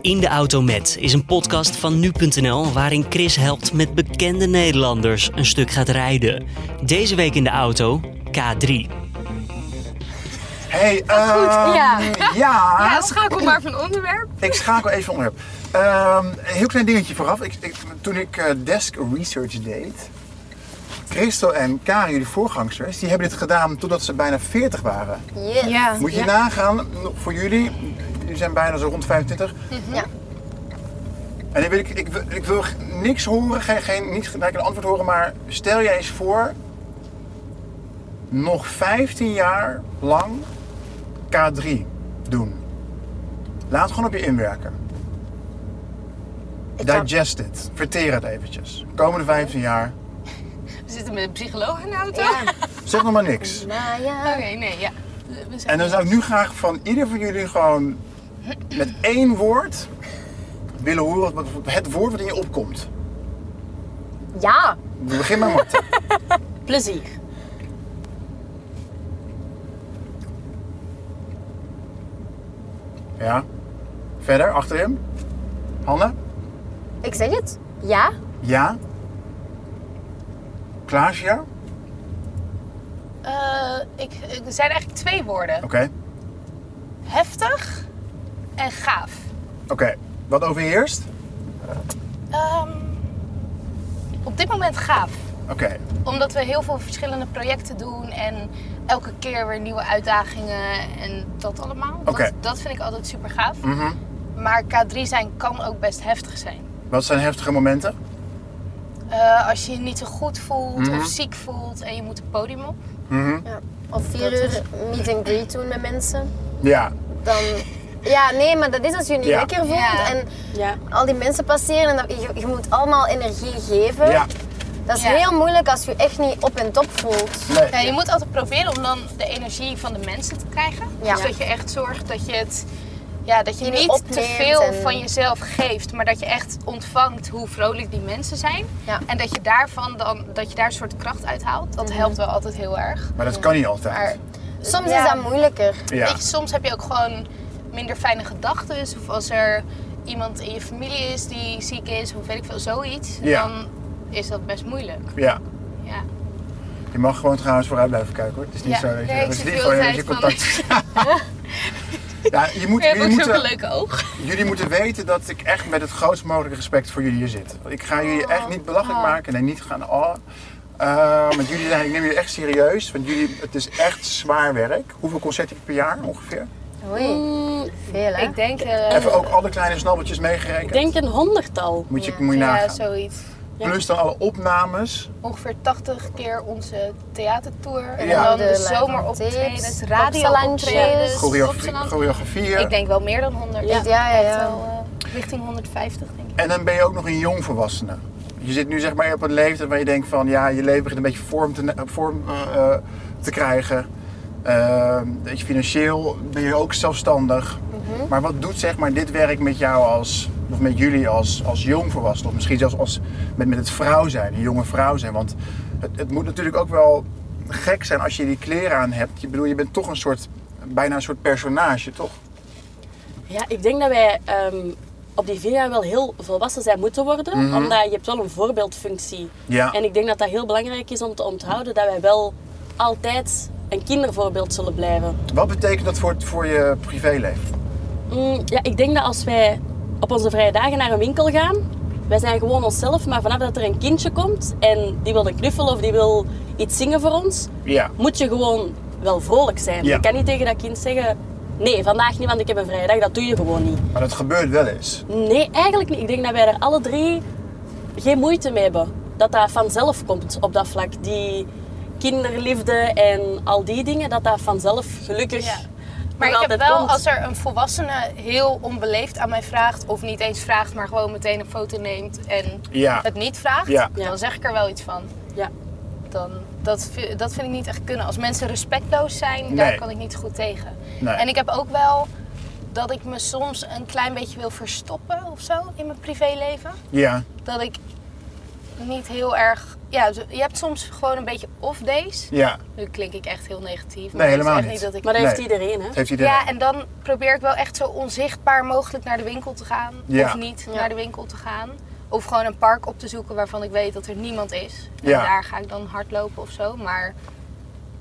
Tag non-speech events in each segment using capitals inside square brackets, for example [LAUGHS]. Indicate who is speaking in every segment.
Speaker 1: In de Auto Met is een podcast van nu.nl waarin Chris helpt met bekende Nederlanders een stuk gaat rijden. Deze week in de auto K3.
Speaker 2: Hey, ehm,
Speaker 3: ja.
Speaker 2: ja.
Speaker 3: Ja, schakel maar van onderwerp.
Speaker 2: Ik schakel even van onderwerp. Ehm, een heel klein dingetje vooraf. Ik, ik- toen ik eh, desk research deed, Christel en Kari, jullie voorgangsters, die hebben dit gedaan totdat ze bijna 40 waren.
Speaker 3: Ja.
Speaker 2: Moet je nagaan, voor jullie, jullie zijn bijna zo rond 25.
Speaker 4: Ja.
Speaker 2: En dan wil ik, ik, wil- ik wil niks horen, geen, geen, niet gelijk een antwoord horen, maar stel jij eens voor, nog 15 jaar lang K3 doen. Laat gewoon op je inwerken. Digest it. Verteer het eventjes. Komende 15 jaar.
Speaker 3: We zitten met een psycholoog in de auto.
Speaker 2: Zeg nog maar niks.
Speaker 4: Maar ja.
Speaker 3: Oké, nee, ja. We zijn
Speaker 2: En dan zou ik nu graag van ieder van jullie gewoon met één woord willen horen wat- het woord wat in je opkomt.
Speaker 4: Ja.
Speaker 2: Begin maar Marten.
Speaker 5: Plezier.
Speaker 2: Ja. Verder, achter hem. Hanne?
Speaker 4: Ik zeg het. Ja.
Speaker 2: Ja. Klaasje? ja? Oké.
Speaker 3: Eh, ik, er zijn eigenlijk twee woorden. Heftig en gaaf.
Speaker 2: Oké. Wat overheerst?
Speaker 3: Ehm, op dit moment gaaf.
Speaker 2: Oké.
Speaker 3: Omdat we heel veel verschillende projecten doen en elke keer weer nieuwe uitdagingen en dat allemaal.
Speaker 2: Oké.
Speaker 3: Dat, dat vind ik altijd super gaaf.
Speaker 2: Mhm.
Speaker 3: Maar K3 zijn kan ook best heftig zijn.
Speaker 2: Wat zijn heftige momenten?
Speaker 3: Eh, als je je niet zo goed voelt
Speaker 2: Mhm.
Speaker 3: of ziek voelt en je moet het podium op.
Speaker 2: Mhm.
Speaker 4: Of vier uur meet and greet doen met mensen.
Speaker 2: Ja.
Speaker 4: Dan... Ja, nee, maar dat is als je je niet
Speaker 2: Ja.
Speaker 4: lekker voelt
Speaker 3: Ja.
Speaker 4: en
Speaker 5: Ja.
Speaker 4: al die mensen passeren en dat, je, je moet allemaal energie geven.
Speaker 2: Ja.
Speaker 4: Dat is
Speaker 3: Ja.
Speaker 4: heel moeilijk als je je echt niet op en top voelt.
Speaker 2: Nee.
Speaker 3: Ja, je moet altijd proberen om dan de energie van de mensen te krijgen.
Speaker 4: Ja.
Speaker 3: Dus dat je echt zorgt dat je het. Ja, dat je
Speaker 4: Die
Speaker 3: niet
Speaker 4: opneemt
Speaker 3: te veel
Speaker 4: en-
Speaker 3: van jezelf geeft, maar dat je echt ontvangt hoe vrolijk die mensen zijn.
Speaker 4: Ja. Mhm.
Speaker 3: En dat je daarvan dan, dat je daar een soort kracht uit haalt. Dat helpt wel altijd heel erg.
Speaker 2: Maar dat kan niet
Speaker 3: Maar
Speaker 2: altijd.
Speaker 4: Soms
Speaker 3: Ja.
Speaker 4: is dat moeilijker.
Speaker 2: Ja.
Speaker 3: weet je, soms heb je ook gewoon minder fijne gedachten. Of als er iemand in je familie is die ziek is, of weet ik veel, zoiets.
Speaker 2: Ja.
Speaker 3: Dan is dat best moeilijk.
Speaker 2: Ja.
Speaker 3: Ja.
Speaker 2: Je mag gewoon trouwens vooruit blijven kijken hoor. Het is niet
Speaker 3: Ja.
Speaker 2: zo dat je,
Speaker 3: Nee, ik
Speaker 2: het is
Speaker 3: zit
Speaker 2: niet
Speaker 3: heel
Speaker 2: zo
Speaker 3: de
Speaker 2: dat je
Speaker 3: tijd van- [LAUGHS]
Speaker 2: contact. ja, je moet,
Speaker 3: Je hebt
Speaker 2: jullie,
Speaker 3: ook zo'n
Speaker 2: moeten,
Speaker 3: leuke oog.
Speaker 2: jullie moeten weten dat ik echt met het grootst mogelijke respect voor jullie hier zit. Want Ik ga jullie echt niet belachelijk maken. Nee, niet gaan. Oh. Eh, want jullie zijn, ik neem jullie echt serieus. Want jullie, het is echt zwaar werk. Hoeveel concerten heb je per jaar ongeveer?
Speaker 4: Oei, veel hè?
Speaker 3: Ik denk eh,
Speaker 2: Even ook alle kleine snabbeltjes meegerekend.
Speaker 5: Ik denk een honderdtal.
Speaker 2: moet je,
Speaker 4: Ja.
Speaker 2: moet je
Speaker 3: ja, Dus
Speaker 2: nagaan.
Speaker 3: zoiets.
Speaker 2: Plus dan alle opnames.
Speaker 3: Ongeveer 80 keer onze theatertour. En
Speaker 2: Ja.
Speaker 3: dan de
Speaker 4: De
Speaker 3: zomeroptredens,
Speaker 4: live-optredens,
Speaker 3: radio-optredens,
Speaker 4: popsalantjes.
Speaker 2: Choreofe-
Speaker 3: popsalant.
Speaker 2: choreografieën.
Speaker 3: Ik denk wel meer dan 100.
Speaker 5: Ja.
Speaker 3: Ik
Speaker 4: Ja, ja,
Speaker 3: echt
Speaker 4: ja.
Speaker 3: wel eh, richting 150 denk ik.
Speaker 2: En dan ben je ook nog een jong volwassene. Je zit nu zeg maar op een leeftijd waar je denkt van ja, je leven begint een beetje vorm te, eh, vorm, eh, eh, te krijgen. Eh, weet je, financieel ben je ook zelfstandig. Maar wat doet zeg maar dit werk met jou als, of met jullie als, als jong volwassene? Of misschien zelfs als, met, met het vrouw zijn, een jonge vrouw zijn. Want het, het moet natuurlijk ook wel gek zijn als je die kleren aan hebt. Je bedoel, je bent toch een soort, bijna een soort personage, toch?
Speaker 5: Ja, ik denk dat wij ehm, op die vier jaar wel heel volwassen zijn moeten worden. Omdat je hebt wel een voorbeeldfunctie.
Speaker 2: Mhm. Ja.
Speaker 5: En ik denk dat dat heel belangrijk is om te onthouden dat wij wel altijd een kindervoorbeeld zullen blijven.
Speaker 2: Wat betekent dat voor, voor je privéleven?
Speaker 5: Mm, ja, ik denk dat als wij op onze vrije dagen naar een winkel gaan, wij zijn gewoon onszelf, maar vanaf dat er een kindje komt en die wil een knuffel of die wil iets zingen voor ons,
Speaker 2: Ja.
Speaker 5: moet je gewoon wel vrolijk zijn.
Speaker 2: Ja.
Speaker 5: Je kan niet tegen dat kind zeggen, nee, vandaag niet, want ik heb een vrije dag. Dat doe je gewoon niet.
Speaker 2: Maar dat gebeurt wel eens.
Speaker 5: Nee, eigenlijk niet. Ik denk dat wij er alle drie geen moeite mee hebben. Dat dat vanzelf komt op dat vlak. Die kinderliefde en al die dingen, dat dat vanzelf gelukkig
Speaker 3: Ja.
Speaker 5: nog
Speaker 3: Maar ik heb
Speaker 5: altijd
Speaker 3: wel,
Speaker 5: komt.
Speaker 3: als er een volwassene heel onbeleefd aan mij vraagt, of niet eens vraagt, maar gewoon meteen een foto neemt en
Speaker 2: Ja.
Speaker 3: het niet vraagt,
Speaker 2: Ja.
Speaker 5: Ja.
Speaker 3: dan zeg ik er wel iets van.
Speaker 5: Ja.
Speaker 3: Dan, dat, vi- dat vind ik niet echt kunnen. Als mensen respectloos zijn, daar
Speaker 2: Nee.
Speaker 3: kan ik niet goed tegen.
Speaker 2: Nee.
Speaker 3: En ik heb ook wel dat ik me soms een klein beetje wil verstoppen of zo in mijn privéleven.
Speaker 2: Ja,
Speaker 3: Dat ik niet heel erg... Ja, zo- je hebt soms gewoon een beetje off days.
Speaker 2: Ja,
Speaker 3: Nu klink ik echt heel negatief.
Speaker 2: Nee,
Speaker 3: het is
Speaker 2: helemaal
Speaker 3: echt
Speaker 2: niet.
Speaker 3: dat ik...
Speaker 5: Maar dat heeft
Speaker 2: Nee.
Speaker 5: iedereen, hè?
Speaker 2: dat heeft iedereen.
Speaker 3: Ja, en dan probeer ik wel echt zo onzichtbaar mogelijk naar de winkel te gaan.
Speaker 2: Ja.
Speaker 3: Of niet
Speaker 4: Ja.
Speaker 3: naar de winkel te gaan. Of gewoon een park op te zoeken waarvan ik weet dat er niemand is. En
Speaker 2: Ja.
Speaker 3: daar ga ik dan hardlopen of zo. Maar,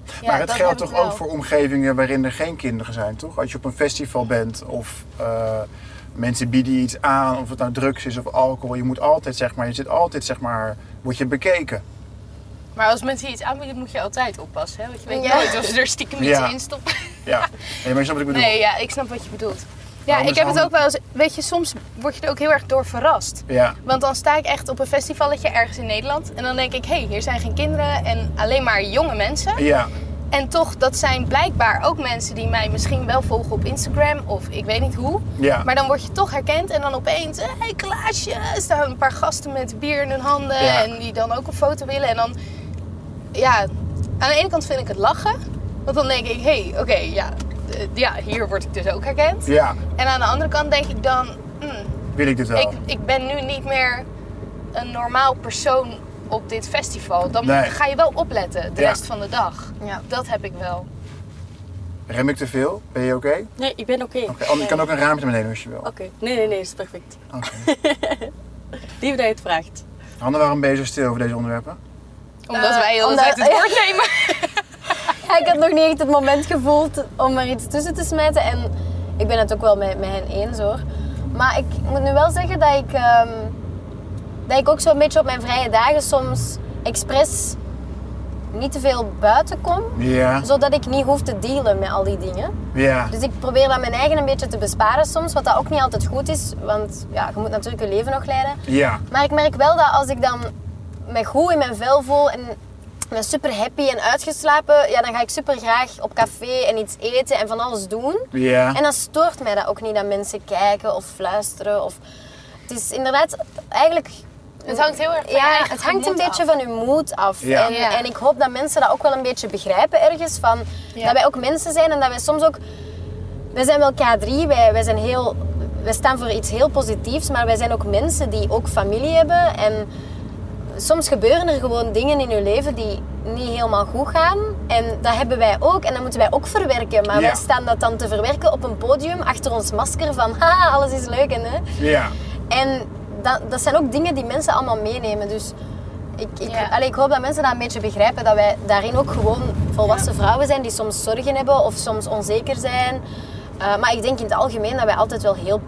Speaker 3: ja,
Speaker 2: maar het
Speaker 3: dat
Speaker 2: geldt
Speaker 3: heb ik
Speaker 2: toch
Speaker 3: wel.
Speaker 2: ook voor omgevingen waarin er geen kinderen zijn, toch? Als je op een festival bent of eh, mensen bieden je iets aan, of het nou drugs is of alcohol, je moet altijd zeg maar, je zit altijd zeg maar, word je bekeken.
Speaker 3: Maar als mensen je iets aanbieden, moet je altijd oppassen. Hè? Want je weet
Speaker 4: Ja.
Speaker 3: nooit of ze er stiekem
Speaker 2: Ja.
Speaker 3: iets in stoppen.
Speaker 2: Ja,
Speaker 3: [LAUGHS]
Speaker 2: nee, maar je snapt wat ik bedoel.
Speaker 3: Nee, ja, ik snap wat je bedoelt. Ja,
Speaker 2: Waarom
Speaker 3: ik
Speaker 2: is
Speaker 3: heb het
Speaker 2: handig?
Speaker 3: ook wel eens... Weet je, soms word je er ook heel erg door verrast.
Speaker 2: Ja,
Speaker 3: Want dan sta ik echt op een festivalletje ergens in Nederland. En dan denk ik, hé, hey, hier zijn geen kinderen en alleen maar jonge mensen.
Speaker 2: ja,
Speaker 3: En toch, dat zijn blijkbaar ook mensen die mij misschien wel volgen op Instagram of ik weet niet hoe.
Speaker 2: ja.
Speaker 3: Maar dan word je toch herkend en dan opeens, hé hey, Klaasje, staan een paar gasten met bier in hun handen
Speaker 2: Ja.
Speaker 3: en die dan ook een foto willen. En dan, ja, aan de ene kant vind ik het lachen, want dan denk ik, hé, hey, oké, ja, eh, ja, hier word ik dus ook herkend.
Speaker 2: ja,
Speaker 3: En aan de andere kant denk ik dan, hmm,
Speaker 2: wil ik dit wel.
Speaker 3: ik, ik ben nu niet meer een normaal persoon op dit festival. Dan
Speaker 2: Nee.
Speaker 3: ga je wel opletten de
Speaker 2: Ja.
Speaker 3: rest van de dag.
Speaker 4: Ja.
Speaker 3: Dat heb ik wel.
Speaker 2: Rem ik te veel? Ben je oké? Oké,
Speaker 5: Nee, ik ben oké.
Speaker 2: Anne, je
Speaker 5: Nee.
Speaker 2: kan ook een raamte naar beneden als je wil.
Speaker 5: Oké. Nee, nee, nee, is perfect.
Speaker 2: Oké.
Speaker 5: [LAUGHS] Lief dat je het vraagt.
Speaker 2: Handen waren bezig stil over deze onderwerpen.
Speaker 3: Omdat
Speaker 4: Eh,
Speaker 3: wij heel
Speaker 4: omdat-
Speaker 3: tijd
Speaker 4: [LAUGHS]
Speaker 3: het woord nemen.
Speaker 4: Ja, ik had nog niet echt het moment gevoeld om er iets tussen te smijten. En ik ben het ook wel met, met hen eens hoor. Maar ik moet nu wel zeggen dat ik, ehm, dat ik ook zo'n beetje op mijn vrije dagen soms expres niet te veel buiten kom.
Speaker 2: Ja,
Speaker 4: Zodat ik niet hoef te dealen met al die dingen.
Speaker 2: ja,
Speaker 4: Dus ik probeer dat mijn eigen een beetje te besparen soms. Wat dat ook niet altijd goed is. Want ja, je moet natuurlijk je leven nog leiden.
Speaker 2: ja,
Speaker 4: Maar ik merk wel dat als ik dan me goed in mijn vel voel en ben super happy en uitgeslapen, ja, dan ga ik super graag op café en iets eten en van alles doen.
Speaker 2: ja.
Speaker 4: En dan stoort mij dat ook niet dat mensen kijken of fluisteren. Of... Het is inderdaad eigenlijk.
Speaker 3: Het hangt heel erg van je
Speaker 4: Ja,
Speaker 3: eigen
Speaker 4: het hangt een
Speaker 3: gemoed
Speaker 4: beetje
Speaker 3: af.
Speaker 4: van uw moed af.
Speaker 2: Ja.
Speaker 4: En,
Speaker 3: Ja.
Speaker 4: en ik hoop dat mensen dat ook wel een beetje begrijpen ergens. Van,
Speaker 3: Ja.
Speaker 4: Dat wij ook mensen zijn en dat wij soms ook wij zijn wel K3, wij, wij, zijn heel, wij staan voor iets heel positiefs, maar wij zijn ook mensen die ook familie hebben. En soms gebeuren er gewoon dingen in je leven die niet helemaal goed gaan. En dat hebben wij ook en dat moeten wij ook verwerken. Maar
Speaker 2: Ja.
Speaker 4: wij staan dat dan te verwerken op een podium achter ons masker van ha, alles is leuk. En, hè.
Speaker 2: ja.
Speaker 4: en dat, dat zijn ook dingen die mensen allemaal meenemen. Dus ik, ik,
Speaker 3: Ja.
Speaker 4: allee, ik hoop dat mensen dat een beetje begrijpen. Dat wij daarin ook gewoon volwassen vrouwen zijn die soms zorgen hebben of soms onzeker zijn. Uh, maar ik denk in het algemeen dat wij altijd wel heel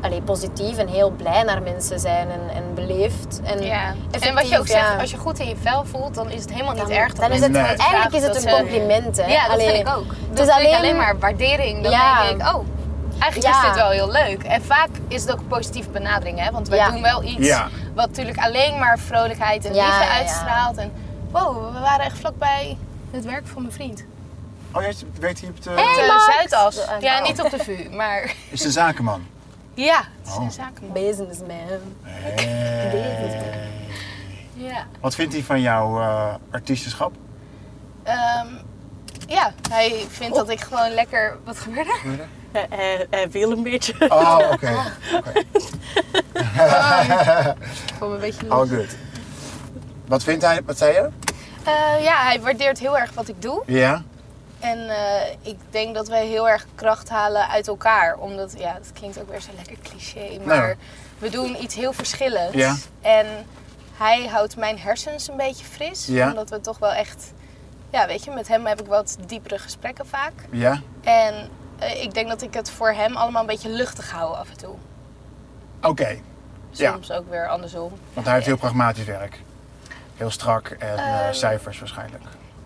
Speaker 4: allee, positief en heel blij naar mensen zijn en, en beleefd. En,
Speaker 3: Ja.
Speaker 4: effectief,
Speaker 3: En wat je ook
Speaker 4: ja.
Speaker 3: zegt, als je goed in je vel voelt, dan is het helemaal niet
Speaker 4: dan,
Speaker 3: erg. dat
Speaker 4: dan is het
Speaker 3: mensen
Speaker 2: Nee.
Speaker 3: dat
Speaker 4: eigenlijk is
Speaker 3: vragen,
Speaker 4: het een
Speaker 3: dat ze-
Speaker 4: compliment. Hè?
Speaker 3: Ja, dat
Speaker 4: Allee,
Speaker 3: vind ik ook.
Speaker 4: Het
Speaker 3: Dat
Speaker 4: is
Speaker 3: vind ik
Speaker 4: alleen,
Speaker 3: alleen maar waardering. Dan
Speaker 4: Ja.
Speaker 3: denk ik, oh, eigenlijk
Speaker 4: Ja.
Speaker 3: is dit wel heel leuk. En vaak is het ook een positieve benadering, hè? Want wij
Speaker 4: Ja.
Speaker 3: doen wel iets
Speaker 2: Ja.
Speaker 3: wat natuurlijk alleen maar vrolijkheid en
Speaker 4: Ja,
Speaker 3: liefde
Speaker 4: ja, ja.
Speaker 3: uitstraalt. En wow, we waren echt vlakbij het werk van mijn vriend.
Speaker 2: Oh, jij weet hier op de...
Speaker 3: Op de
Speaker 4: Max!
Speaker 3: Zuidas.
Speaker 4: Oh.
Speaker 3: Ja, niet op de VU, maar [LAUGHS]
Speaker 2: Is de zakenman.
Speaker 3: ja, het is
Speaker 2: Oh.
Speaker 3: een zakenman.
Speaker 4: Businessman.
Speaker 2: Hey.
Speaker 3: Ja.
Speaker 2: Wat vindt hij van jouw eh, artiestenschap?
Speaker 3: Ehm, ja, hij vindt dat ik gewoon lekker... Wat gebeurde er?
Speaker 5: Hij, hij, hij viel een beetje.
Speaker 2: Oh, oké.
Speaker 3: Ik kwam een beetje los.
Speaker 2: All good. Wat vindt hij? Wat zei je?
Speaker 3: Eh, ja, hij waardeert heel erg wat ik doe.
Speaker 2: Ja?
Speaker 3: En eh, ik denk dat wij heel erg kracht halen uit elkaar. Omdat, ja, dat klinkt ook weer zo lekker cliché. Maar
Speaker 2: Nou.
Speaker 3: we doen iets heel verschillends.
Speaker 2: Ja.
Speaker 3: En hij houdt mijn hersens een beetje fris.
Speaker 2: Ja.
Speaker 3: Omdat we toch wel echt... Ja, weet je, met hem heb ik wat diepere gesprekken vaak.
Speaker 2: Ja?
Speaker 3: En eh, ik denk dat ik het voor hem allemaal een beetje luchtig hou af en toe.
Speaker 2: Oké. Ja,
Speaker 3: Soms ook weer andersom.
Speaker 2: want hij heeft heel pragmatisch werk. Heel strak en eh,
Speaker 3: Ehm,
Speaker 2: cijfers waarschijnlijk.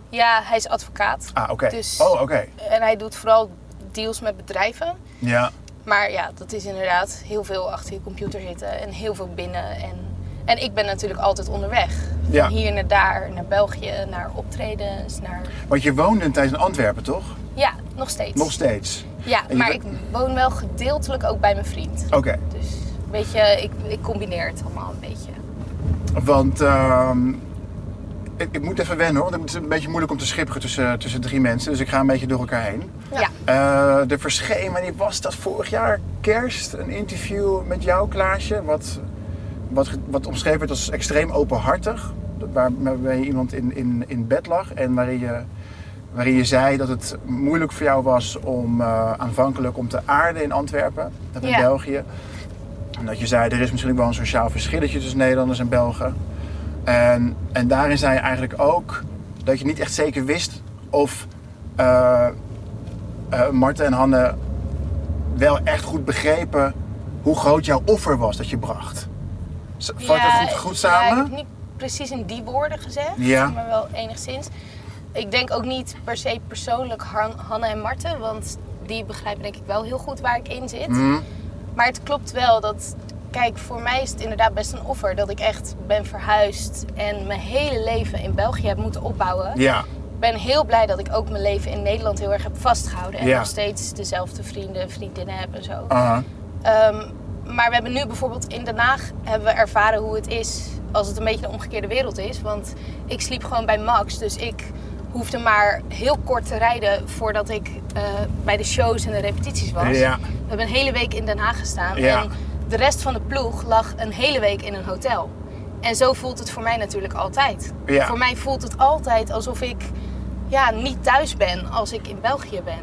Speaker 3: Ja, hij is advocaat.
Speaker 2: Ah, oké.
Speaker 3: dus-
Speaker 2: Oh, oké.
Speaker 3: En hij doet vooral deals met bedrijven.
Speaker 2: Ja.
Speaker 3: Maar ja, dat is inderdaad heel veel achter je computer zitten en heel veel binnen. En, en ik ben natuurlijk altijd onderweg. Van
Speaker 2: Ja.
Speaker 3: hier naar daar, naar België, naar optredens, naar...
Speaker 2: Want je woonde een tijd in Antwerpen, toch?
Speaker 3: Ja, nog steeds.
Speaker 2: Nog steeds.
Speaker 3: Ja,
Speaker 2: En je
Speaker 3: maar
Speaker 2: be-
Speaker 3: ik woon wel gedeeltelijk ook bij mijn vriend.
Speaker 2: Oké.
Speaker 3: Dus een beetje, ik, ik combineer het allemaal een beetje.
Speaker 2: Want ehm, ik, ik moet even wennen hoor, want het is een beetje moeilijk om te schipperen tussen, tussen drie mensen. Dus ik ga een beetje door elkaar heen.
Speaker 3: Ja.
Speaker 2: Eh, er verscheen, maar die was dat vorig jaar kerst, een interview met jou Klaasje. Wat wat, ge- wat omschreven werd als extreem openhartig. waar- Waarbij iemand in, in, in bed lag en waarin je, waarin je zei dat het moeilijk voor jou was om eh, aanvankelijk om te aarden in Antwerpen, dat in
Speaker 3: Ja.
Speaker 2: België. En dat je zei, er is misschien ook wel een sociaal verschilletje tussen Nederlanders en Belgen. En, en daarin zei je eigenlijk ook dat je niet echt zeker wist of eh eh, Marten en Hanne wel echt goed begrepen hoe groot jouw offer was dat je bracht. Z- Vat het goed, goed
Speaker 3: Ja, ik heb
Speaker 2: samen?
Speaker 3: het niet precies in die woorden gezegd,
Speaker 2: Ja.
Speaker 3: maar wel enigszins. Ik denk ook niet per se persoonlijk Han- Hanne en Marten, want die begrijpen denk ik wel heel goed waar ik in zit.
Speaker 2: Mhm.
Speaker 3: Maar het klopt wel dat, kijk, voor mij is het inderdaad best een offer dat ik echt ben verhuisd en mijn hele leven in België heb moeten opbouwen.
Speaker 2: Ja,
Speaker 3: Ik ben heel blij dat ik ook mijn leven in Nederland heel erg heb vastgehouden en
Speaker 2: Ja. Ah.
Speaker 3: nog steeds dezelfde vrienden en vriendinnen heb en zo.
Speaker 2: aha.
Speaker 3: Ehm, maar we hebben nu bijvoorbeeld in Den Haag hebben we ervaren hoe het is als het een beetje de omgekeerde wereld is. Want ik sliep gewoon bij Max, dus ik hoefde maar heel kort te rijden voordat ik eh, bij de shows en de repetities was.
Speaker 2: Ja.
Speaker 3: We hebben een hele week in Den Haag gestaan
Speaker 2: Ja.
Speaker 3: en de rest van de ploeg lag een hele week in een hotel. En zo voelt het voor mij natuurlijk altijd.
Speaker 2: Ja.
Speaker 3: Voor mij voelt het altijd alsof ik ja, niet thuis ben als ik in België ben.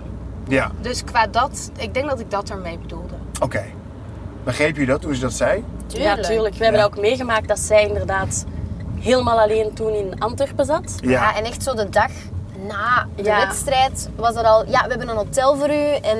Speaker 2: ja.
Speaker 3: Dus qua dat, ik denk dat ik dat ermee bedoelde.
Speaker 2: Oké. Begreep je dat toen ze dat zei?
Speaker 5: Ja, tuurlijk. We hebben
Speaker 2: Ja.
Speaker 5: ook meegemaakt dat zij inderdaad helemaal alleen toen in Antwerpen zat.
Speaker 4: Ja. en echt zo de dag na de
Speaker 5: Ja.
Speaker 4: wedstrijd was dat al... Ja, we hebben een hotel voor u en...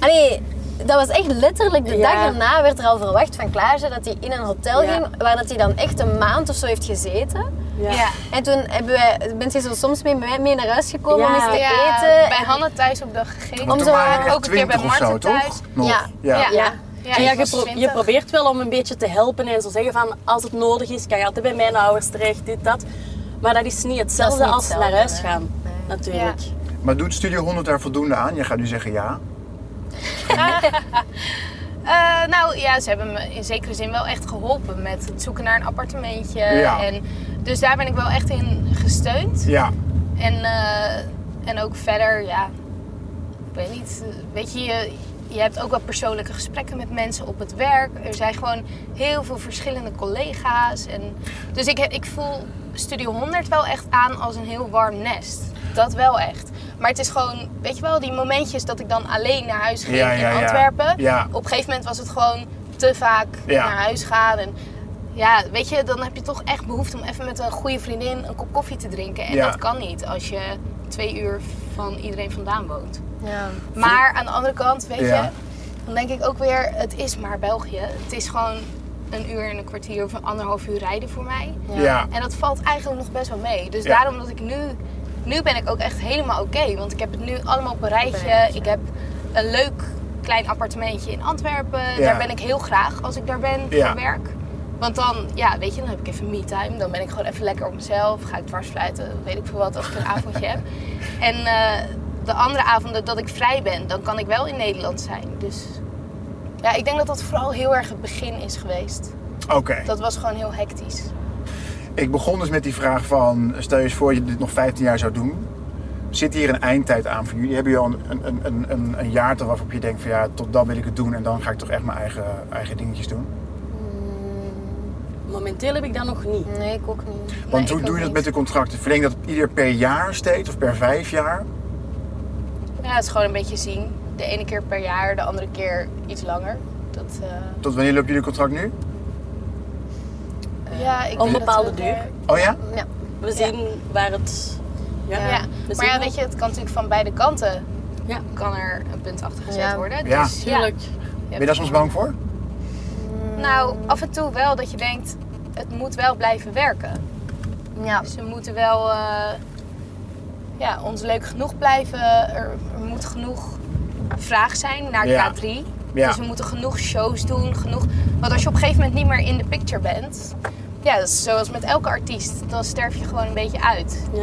Speaker 4: Allee, dat was echt letterlijk de
Speaker 5: Ja.
Speaker 4: dag erna werd er al verwacht van Klaasje dat hij in een hotel
Speaker 5: Ja.
Speaker 4: ging waar dat hij dan echt een maand of zo heeft gezeten.
Speaker 3: Ja.
Speaker 4: En toen hebben wij, bent je zo soms mee, mee, mee naar huis gekomen om
Speaker 5: Ja.
Speaker 4: eens te
Speaker 3: Ja,
Speaker 4: eten.
Speaker 3: bij
Speaker 4: en-
Speaker 3: Hanna thuis op de gegeten.
Speaker 2: Want
Speaker 4: Om
Speaker 2: toen
Speaker 4: zo
Speaker 2: waren
Speaker 4: maar
Speaker 2: er echt
Speaker 3: ook een keer bij
Speaker 2: 20 of zo,
Speaker 3: Marten
Speaker 2: toch?
Speaker 3: thuis.
Speaker 2: Nog.
Speaker 4: Ja.
Speaker 2: Ja.
Speaker 3: Ja.
Speaker 4: Ja.
Speaker 3: Ja,
Speaker 5: en
Speaker 3: ik
Speaker 5: ja, je,
Speaker 3: was
Speaker 5: pro-
Speaker 3: 20.
Speaker 5: je probeert wel om een beetje te helpen en zo zeggen van als het nodig is, kan je altijd bij mijn ouders terecht, dit, dat. Maar dat is niet hetzelfde
Speaker 4: niet
Speaker 5: als
Speaker 4: hetzelfde,
Speaker 5: naar huis
Speaker 4: hè.
Speaker 5: gaan, natuurlijk.
Speaker 2: Maar doet Studio 100 daar voldoende aan? Je gaat nu zeggen ja.
Speaker 3: Eh, nou ja, ze hebben me in zekere zin wel echt geholpen met het zoeken naar een appartementje.
Speaker 2: Ja.
Speaker 3: En, dus daar ben ik wel echt in gesteund.
Speaker 2: Ja.
Speaker 3: En, eh, en ook verder, ja, ik weet niet. eh, Weet je, je, je hebt ook wel persoonlijke gesprekken met mensen op het werk. Er zijn gewoon heel veel verschillende collega's. En, dus ik, ik voel Studio 100 wel echt aan als een heel warm nest. Dat wel echt. Maar het is gewoon, weet je wel, die momentjes dat ik dan alleen naar huis ging
Speaker 2: Ja, ja,
Speaker 3: in
Speaker 2: ja.
Speaker 3: Antwerpen.
Speaker 2: Ja.
Speaker 3: Op een gegeven moment was het gewoon te vaak
Speaker 2: Ja.
Speaker 3: naar huis gaan. En ja, weet je, dan heb je toch echt behoefte om even met een goede vriendin een kop koffie te drinken. En
Speaker 2: Ja.
Speaker 3: dat kan niet als je twee uur van iedereen vandaan woont.
Speaker 4: Ja.
Speaker 3: Maar aan de andere kant, weet
Speaker 2: Ja.
Speaker 3: je, dan denk ik ook weer, het is maar België. Het is gewoon een uur en een kwartier of een anderhalf uur rijden voor mij.
Speaker 2: Ja. Ja.
Speaker 3: En dat valt eigenlijk nog best wel mee. Dus
Speaker 2: Ja.
Speaker 3: daarom dat ik nu, nu ben ik ook echt helemaal oké. want ik heb het nu allemaal op een rijtje. Ik heb een leuk klein appartementje in Antwerpen.
Speaker 2: Ja.
Speaker 3: Daar ben ik heel graag als ik daar ben
Speaker 2: Ja.
Speaker 3: voor werk. Want dan, ja, weet je, dan heb ik even me-time. Dan ben ik gewoon even lekker op mezelf. Ga ik dwarsfluiten, weet ik veel wat, als
Speaker 2: [LAUGHS]
Speaker 3: ik een avondje heb. En eh, de andere avonden dat ik vrij ben, dan kan ik wel in Nederland zijn. Dus ja, ik denk dat dat vooral heel erg het begin is geweest.
Speaker 2: Oké.
Speaker 3: Dat was gewoon heel hectisch.
Speaker 2: Ik begon dus met die vraag van, stel je eens voor je dit nog 15 jaar zou doen. Zit hier een eindtijd aan voor jullie? Hebben jullie al een, een, een, een, een jaartal waarop je denkt van ja, tot dan wil ik het doen en dan ga ik toch echt mijn eigen, eigen dingetjes doen?
Speaker 5: Momenteel heb ik dat nog niet.
Speaker 4: Nee, ik ook niet.
Speaker 2: Want
Speaker 3: ik
Speaker 2: hoe doe
Speaker 3: ook
Speaker 2: je dat
Speaker 3: niet.
Speaker 2: met de contracten? Verleng je dat ieder per jaar steeds of per vijf jaar?
Speaker 3: Ja, het is gewoon een beetje zien. De ene keer per jaar, de andere keer iets langer. Dat, eh,
Speaker 2: Tot wanneer loopt jullie contract nu?
Speaker 3: ja, ik denk dat eh,
Speaker 5: onbepaalde
Speaker 3: we-
Speaker 5: duur.
Speaker 2: Oh ja?
Speaker 4: Ja.
Speaker 5: We zien waar het... Ja,
Speaker 3: Ja. Dus
Speaker 5: we zien
Speaker 3: Maar ja,
Speaker 5: wel.
Speaker 3: weet je, het kan natuurlijk van beide kanten
Speaker 5: Ja,
Speaker 3: kan er een punt achter gezet
Speaker 4: Ja.
Speaker 3: worden.
Speaker 2: Ja.
Speaker 3: Dus,
Speaker 5: tuurlijk.
Speaker 2: Ben je daar soms bang voor?
Speaker 3: Nou, af en toe wel dat je denkt, het moet wel blijven werken.
Speaker 4: ja.
Speaker 3: Ze moeten wel eh, ja, ons leuk genoeg blijven. Er, er moet genoeg vraag zijn naar
Speaker 2: Ja.
Speaker 3: K3.
Speaker 2: Ja.
Speaker 3: Dus we moeten genoeg shows doen, genoeg... Want als je op een gegeven moment niet meer in de picture bent... Ja, dat is zoals met elke artiest. Dan sterf je gewoon een beetje uit.
Speaker 5: Ja.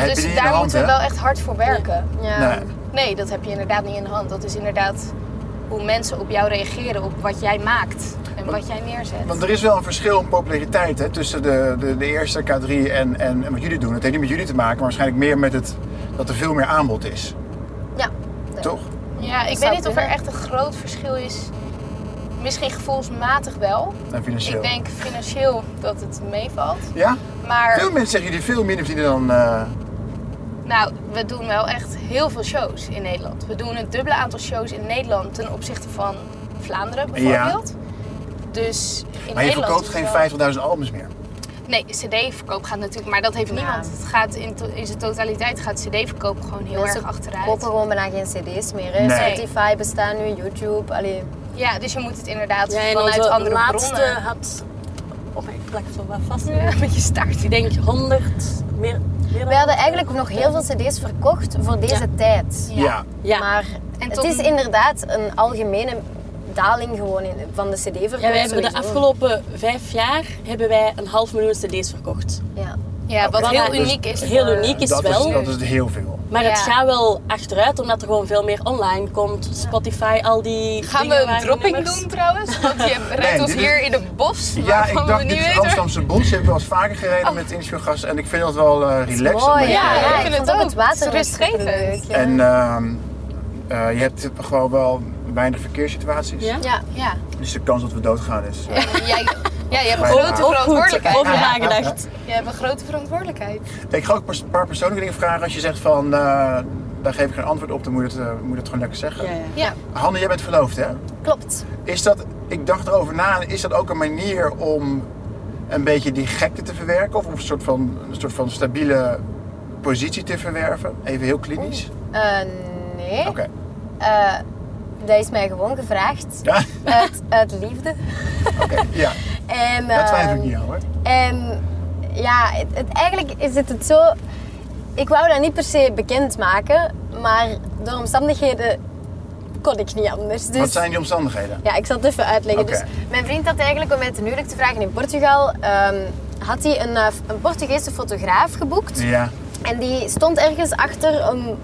Speaker 2: heb je
Speaker 3: dus
Speaker 2: niet in de
Speaker 3: daar
Speaker 2: hand,
Speaker 3: moeten we
Speaker 2: hè?
Speaker 3: wel echt hard voor werken.
Speaker 4: Ja.
Speaker 2: Nee.
Speaker 3: Nee, dat heb je inderdaad niet in de hand. Dat is inderdaad hoe mensen op jou reageren, op wat jij maakt en wat jij neerzet.
Speaker 2: Want er is wel een verschil in populariteit hè, tussen de, de, de eerste K3 en, en, en wat jullie doen. Het heeft niet met jullie te maken, maar waarschijnlijk meer met het dat er veel meer aanbod is.
Speaker 4: Ja.
Speaker 2: Toch?
Speaker 3: Ja, ik
Speaker 4: zou
Speaker 3: weet niet of er
Speaker 4: kunnen.
Speaker 3: echt een groot verschil is Misschien gevoelsmatig wel.
Speaker 2: En financieel.
Speaker 3: Ik denk financieel dat het meevalt.
Speaker 2: Ja?
Speaker 3: Maar
Speaker 2: Veel mensen zeggen jullie veel minder verdienen dan... eh,
Speaker 3: nou, we doen wel echt heel veel shows in Nederland. We doen het dubbele aantal shows in Nederland ten opzichte van Vlaanderen bijvoorbeeld. Dus in
Speaker 2: maar je
Speaker 3: Nederland
Speaker 2: verkoopt
Speaker 3: is het
Speaker 2: geen
Speaker 3: wel-
Speaker 2: 50.000 albums meer.
Speaker 3: Nee, cd-verkoop gaat natuurlijk, maar dat heeft
Speaker 4: Ja.
Speaker 3: niemand. Het gaat in, to- in zijn totaliteit gaat cd-verkoop gewoon heel
Speaker 4: Mensen
Speaker 3: erg achteruit.
Speaker 4: kopen gewoon bijna geen cd's meer. Hè.
Speaker 2: Nee.
Speaker 4: Spotify bestaat nu, YouTube. Allee.
Speaker 3: Ja, dus je moet het inderdaad
Speaker 5: Ja, en
Speaker 3: vanuit
Speaker 5: onze
Speaker 3: andere
Speaker 5: laatste
Speaker 3: bronnen.
Speaker 5: had... Oh, ik plak het wel wat vast.
Speaker 3: Ja, met je staart.
Speaker 5: [LAUGHS] Ik denk 100, meer, meer dan...
Speaker 4: We hadden eigenlijk nog heel veel cd's verkocht voor deze tijd.
Speaker 3: Ja.
Speaker 5: Ja.
Speaker 4: Maar
Speaker 3: En
Speaker 4: het
Speaker 3: tot
Speaker 4: is
Speaker 3: nu-
Speaker 4: inderdaad een algemene daling gewoon in, van de cd-verkoop.
Speaker 5: Ja, wij hebben de
Speaker 4: sowieso.
Speaker 5: afgelopen vijf jaar hebben wij een half miljoen cd's verkocht.
Speaker 4: Ja.
Speaker 3: Ja, wat
Speaker 5: Oké.
Speaker 3: heel
Speaker 5: Dus
Speaker 3: uniek is.
Speaker 5: heel
Speaker 3: voor-
Speaker 5: uniek is
Speaker 2: dat,
Speaker 5: wel.
Speaker 2: Is, dat is heel veel.
Speaker 5: Maar het
Speaker 3: Ja.
Speaker 5: gaat wel achteruit, omdat er gewoon veel meer online komt. Spotify, al die
Speaker 3: Gaan we
Speaker 5: dingen waar
Speaker 3: een dropping
Speaker 5: nummers-
Speaker 3: doen trouwens? Want je rijdt ons
Speaker 2: dit is-
Speaker 3: hier in het bos.
Speaker 2: Ja,
Speaker 3: waarvan
Speaker 2: ik dacht,
Speaker 3: we
Speaker 2: dit is
Speaker 3: niet weten.
Speaker 2: Amsterdamse Bos. Ik heb wel eens vaker gereden met interviewgasten. En ik vind dat wel eh relaxed. om
Speaker 4: Mooi,
Speaker 2: mee te
Speaker 3: Ja,
Speaker 4: ja,
Speaker 2: rijden.
Speaker 3: ik
Speaker 4: ja,
Speaker 3: vind
Speaker 4: ik
Speaker 3: het
Speaker 4: vond ook
Speaker 3: ook.
Speaker 4: het water
Speaker 3: Het is rustgevend.
Speaker 4: leuk. Ja.
Speaker 2: En ehm, eh, je hebt gewoon wel weinig verkeerssituaties.
Speaker 5: Ja.
Speaker 4: ja.
Speaker 3: Ja.
Speaker 2: Dus de kans dat we doodgaan is... eh,
Speaker 3: Jij, ja, je hebt een
Speaker 2: Maar-
Speaker 3: grote
Speaker 2: Ook
Speaker 5: Ook goed,
Speaker 3: verantwoordelijkheid.
Speaker 5: over nagedacht.
Speaker 3: Je hebt een grote verantwoordelijkheid.
Speaker 2: Ik ga ook pers- een paar persoonlijke dingen vragen. Als je zegt van, eh, daar geef ik geen antwoord op, dan moet je het, eh, moet je het gewoon lekker zeggen.
Speaker 5: Ja, ja.
Speaker 3: Ja.
Speaker 2: Hanne, jij bent verloofd, hè?
Speaker 4: Klopt.
Speaker 2: Is dat, ik dacht erover na, is dat ook een manier om een beetje die gekte te verwerken? Of een soort van, een soort van stabiele positie te verwerven? Even heel klinisch.
Speaker 4: Eh, nee,
Speaker 2: Oké.
Speaker 4: Eh, dat is mij gewoon gevraagd.
Speaker 2: Ja,
Speaker 4: Uit, uit liefde.
Speaker 2: oké. ja,
Speaker 4: En,
Speaker 2: [LAUGHS] dat twijfel ik
Speaker 4: ehm,
Speaker 2: niet aan hoor.
Speaker 4: En ja, het, het- eigenlijk is het, het zo. Ik wou dat niet per se bekendmaken, maar door omstandigheden kon ik niet anders. Dus,
Speaker 2: Wat zijn die omstandigheden?
Speaker 4: Ja, ik zal het even uitleggen.
Speaker 2: Oké.
Speaker 4: Dus mijn vriend had eigenlijk om mij ten huwelijk te vragen in Portugal. ehm, had hij een, eh, een Portugese fotograaf geboekt.
Speaker 2: Ja,
Speaker 4: En die stond ergens achter een,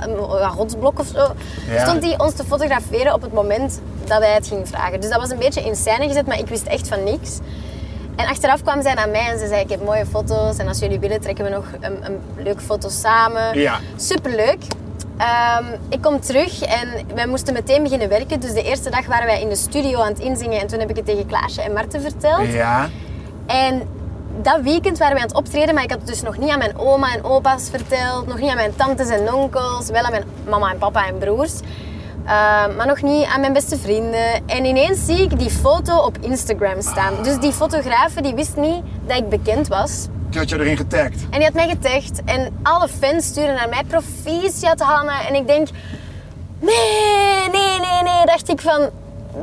Speaker 4: een ja, rotsblok of zo.
Speaker 2: Ja.
Speaker 4: Stond die ons te fotograferen op het moment dat wij het gingen vragen. Dus dat was een beetje in scène gezet, maar ik wist echt van niks. En achteraf kwam zij naar mij en ze zei: Ik heb mooie foto's. En als jullie willen, trekken we nog een, een leuke foto samen.
Speaker 2: Ja.
Speaker 4: Superleuk. Ehm, ik kom terug en wij moesten meteen beginnen werken. Dus de eerste dag waren wij in de studio aan het inzingen. En toen heb ik het tegen Klaasje en Marten verteld.
Speaker 2: ja.
Speaker 4: En dat weekend waren wij aan het optreden, maar ik had het dus nog niet aan mijn oma en opa's verteld. Nog niet aan mijn tantes en onkels. Wel aan mijn mama en papa en broers. eh, maar nog niet aan mijn beste vrienden. En ineens zie ik die foto op Instagram staan. Dus die fotografe die wist niet dat ik bekend was.
Speaker 2: Die had je erin getagd.
Speaker 4: En die had mij getagd. En alle fans sturen naar mij proficiat Hanna. En ik denk, nee, nee, nee, nee. Dacht ik van,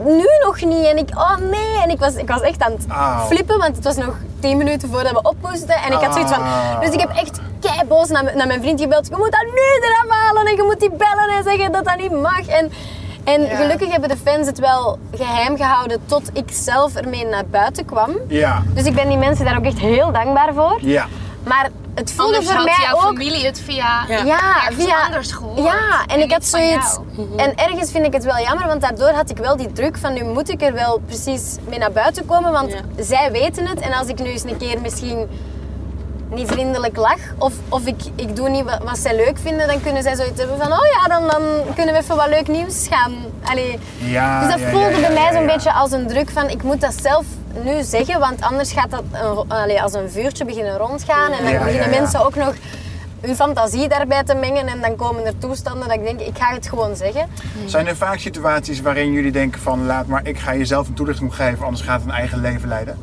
Speaker 4: nu nog niet. En ik, oh nee. En ik was, ik was echt aan het
Speaker 2: Auw.
Speaker 4: flippen, want het was nog tien minuten voordat we op moesten. En ik had zoiets van,
Speaker 2: Ah.
Speaker 4: dus ik heb echt keiboos naar, mijn- naar mijn vriend gebeld. Je moet dat nu eraf halen en je moet die bellen en zeggen dat dat niet mag. En, en gelukkig hebben de fans het wel geheim gehouden tot ik zelf ermee naar buiten kwam.
Speaker 2: Ja,
Speaker 4: Dus ik ben die mensen daar ook echt heel dankbaar voor.
Speaker 2: ja.
Speaker 4: Maar het voelde
Speaker 3: Anders
Speaker 4: voor
Speaker 3: had
Speaker 4: mij
Speaker 3: jouw
Speaker 4: ook.
Speaker 3: familie het via...
Speaker 5: Ja.
Speaker 4: Ja,
Speaker 3: ergens
Speaker 4: via,
Speaker 3: anders gehoord
Speaker 4: Ja, en,
Speaker 3: en
Speaker 4: ik had
Speaker 3: niet van
Speaker 4: zoiets.
Speaker 3: jou. Mhm.
Speaker 4: En ergens vind ik het wel jammer, want daardoor had ik wel die druk van nu moet ik er wel precies mee naar buiten komen, want
Speaker 5: Ja.
Speaker 4: zij weten het. En als ik nu eens een keer misschien niet vriendelijk lach of, of ik, ik doe niet wat, wat zij leuk vinden, dan kunnen zij zoiets hebben van oh ja, dan, dan kunnen we even wat leuk nieuws gaan. Allee.
Speaker 2: Ja,
Speaker 4: dus dat
Speaker 2: ja, ja,
Speaker 4: voelde
Speaker 2: ja,
Speaker 4: bij
Speaker 2: ja,
Speaker 4: mij zo'n
Speaker 2: ja.
Speaker 4: beetje als een druk van ik moet dat zelf nu zeggen, want anders gaat dat een ro- allee, als een vuurtje beginnen rondgaan en dan
Speaker 2: Ja, ja,
Speaker 4: beginnen
Speaker 2: ja.
Speaker 4: mensen ook nog hun fantasie daarbij te mengen en dan komen er toestanden dat ik denk, ik ga het gewoon zeggen.
Speaker 2: Zijn er vaak situaties waarin jullie denken van laat maar ik ga jezelf een toelichting geven, anders gaat het een eigen leven leiden?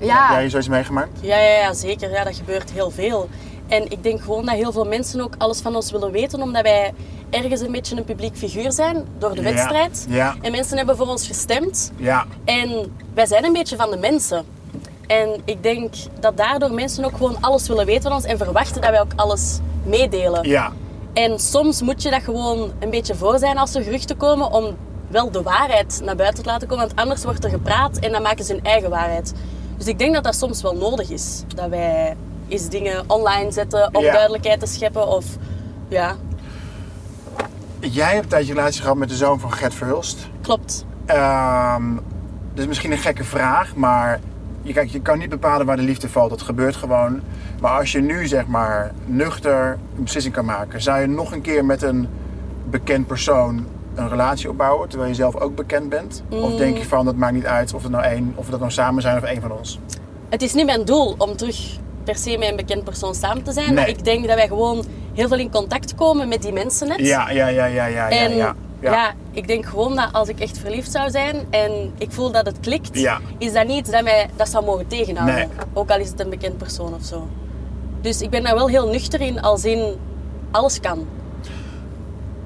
Speaker 4: Ah.
Speaker 2: Heb
Speaker 4: Ja,
Speaker 2: jij zoiets meegemaakt?
Speaker 5: Ja, ja, ja, zeker. Ja, dat gebeurt heel veel. En ik denk gewoon dat heel veel mensen ook alles van ons willen weten, omdat wij ergens een beetje een publiek figuur zijn door de
Speaker 2: Ja,
Speaker 5: wedstrijd.
Speaker 2: ja.
Speaker 5: En mensen hebben voor ons gestemd.
Speaker 2: Ja.
Speaker 5: En wij zijn een beetje van de mensen. En ik denk dat daardoor mensen ook gewoon alles willen weten van ons en verwachten dat wij ook alles meedelen.
Speaker 2: Ja.
Speaker 5: En soms moet je dat gewoon een beetje voor zijn als er geruchten komen om wel de waarheid naar buiten te laten komen. Want anders wordt er gepraat en dan maken ze hun eigen waarheid. Dus ik denk dat dat soms wel nodig is. Dat wij eens dingen online zetten om
Speaker 2: Ja.
Speaker 5: duidelijkheid te scheppen. Of ja,
Speaker 2: Jij hebt een tijdje een relatie gehad met de zoon van Gert Verhulst.
Speaker 5: klopt.
Speaker 2: Ehm dus misschien een gekke vraag, maar je, kijk, je kan niet bepalen waar de liefde valt. Dat gebeurt gewoon. Maar als je nu zeg maar nuchter een beslissing kan maken, zou je nog een keer met een bekend persoon een relatie opbouwen terwijl je zelf ook bekend bent? Of denk je van dat maakt niet uit of het nou één, of we dat nou samen zijn of één van ons?
Speaker 5: Het is niet mijn doel om terug per se met een bekend persoon samen te zijn.
Speaker 2: Nee.
Speaker 5: Maar ik denk dat wij gewoon heel veel in contact komen met die mensen net.
Speaker 2: Ja, ja, ja, ja, ja, ja,
Speaker 5: En
Speaker 2: ja. ja.
Speaker 5: ik denk gewoon dat als ik echt verliefd zou zijn en ik voel dat het klikt,
Speaker 2: Ja.
Speaker 5: is dat niet dat mij dat zou mogen tegenhouden.
Speaker 2: Nee.
Speaker 5: Ook al is het een bekend persoon of zo. Dus ik ben daar wel heel nuchter in, als in alles kan.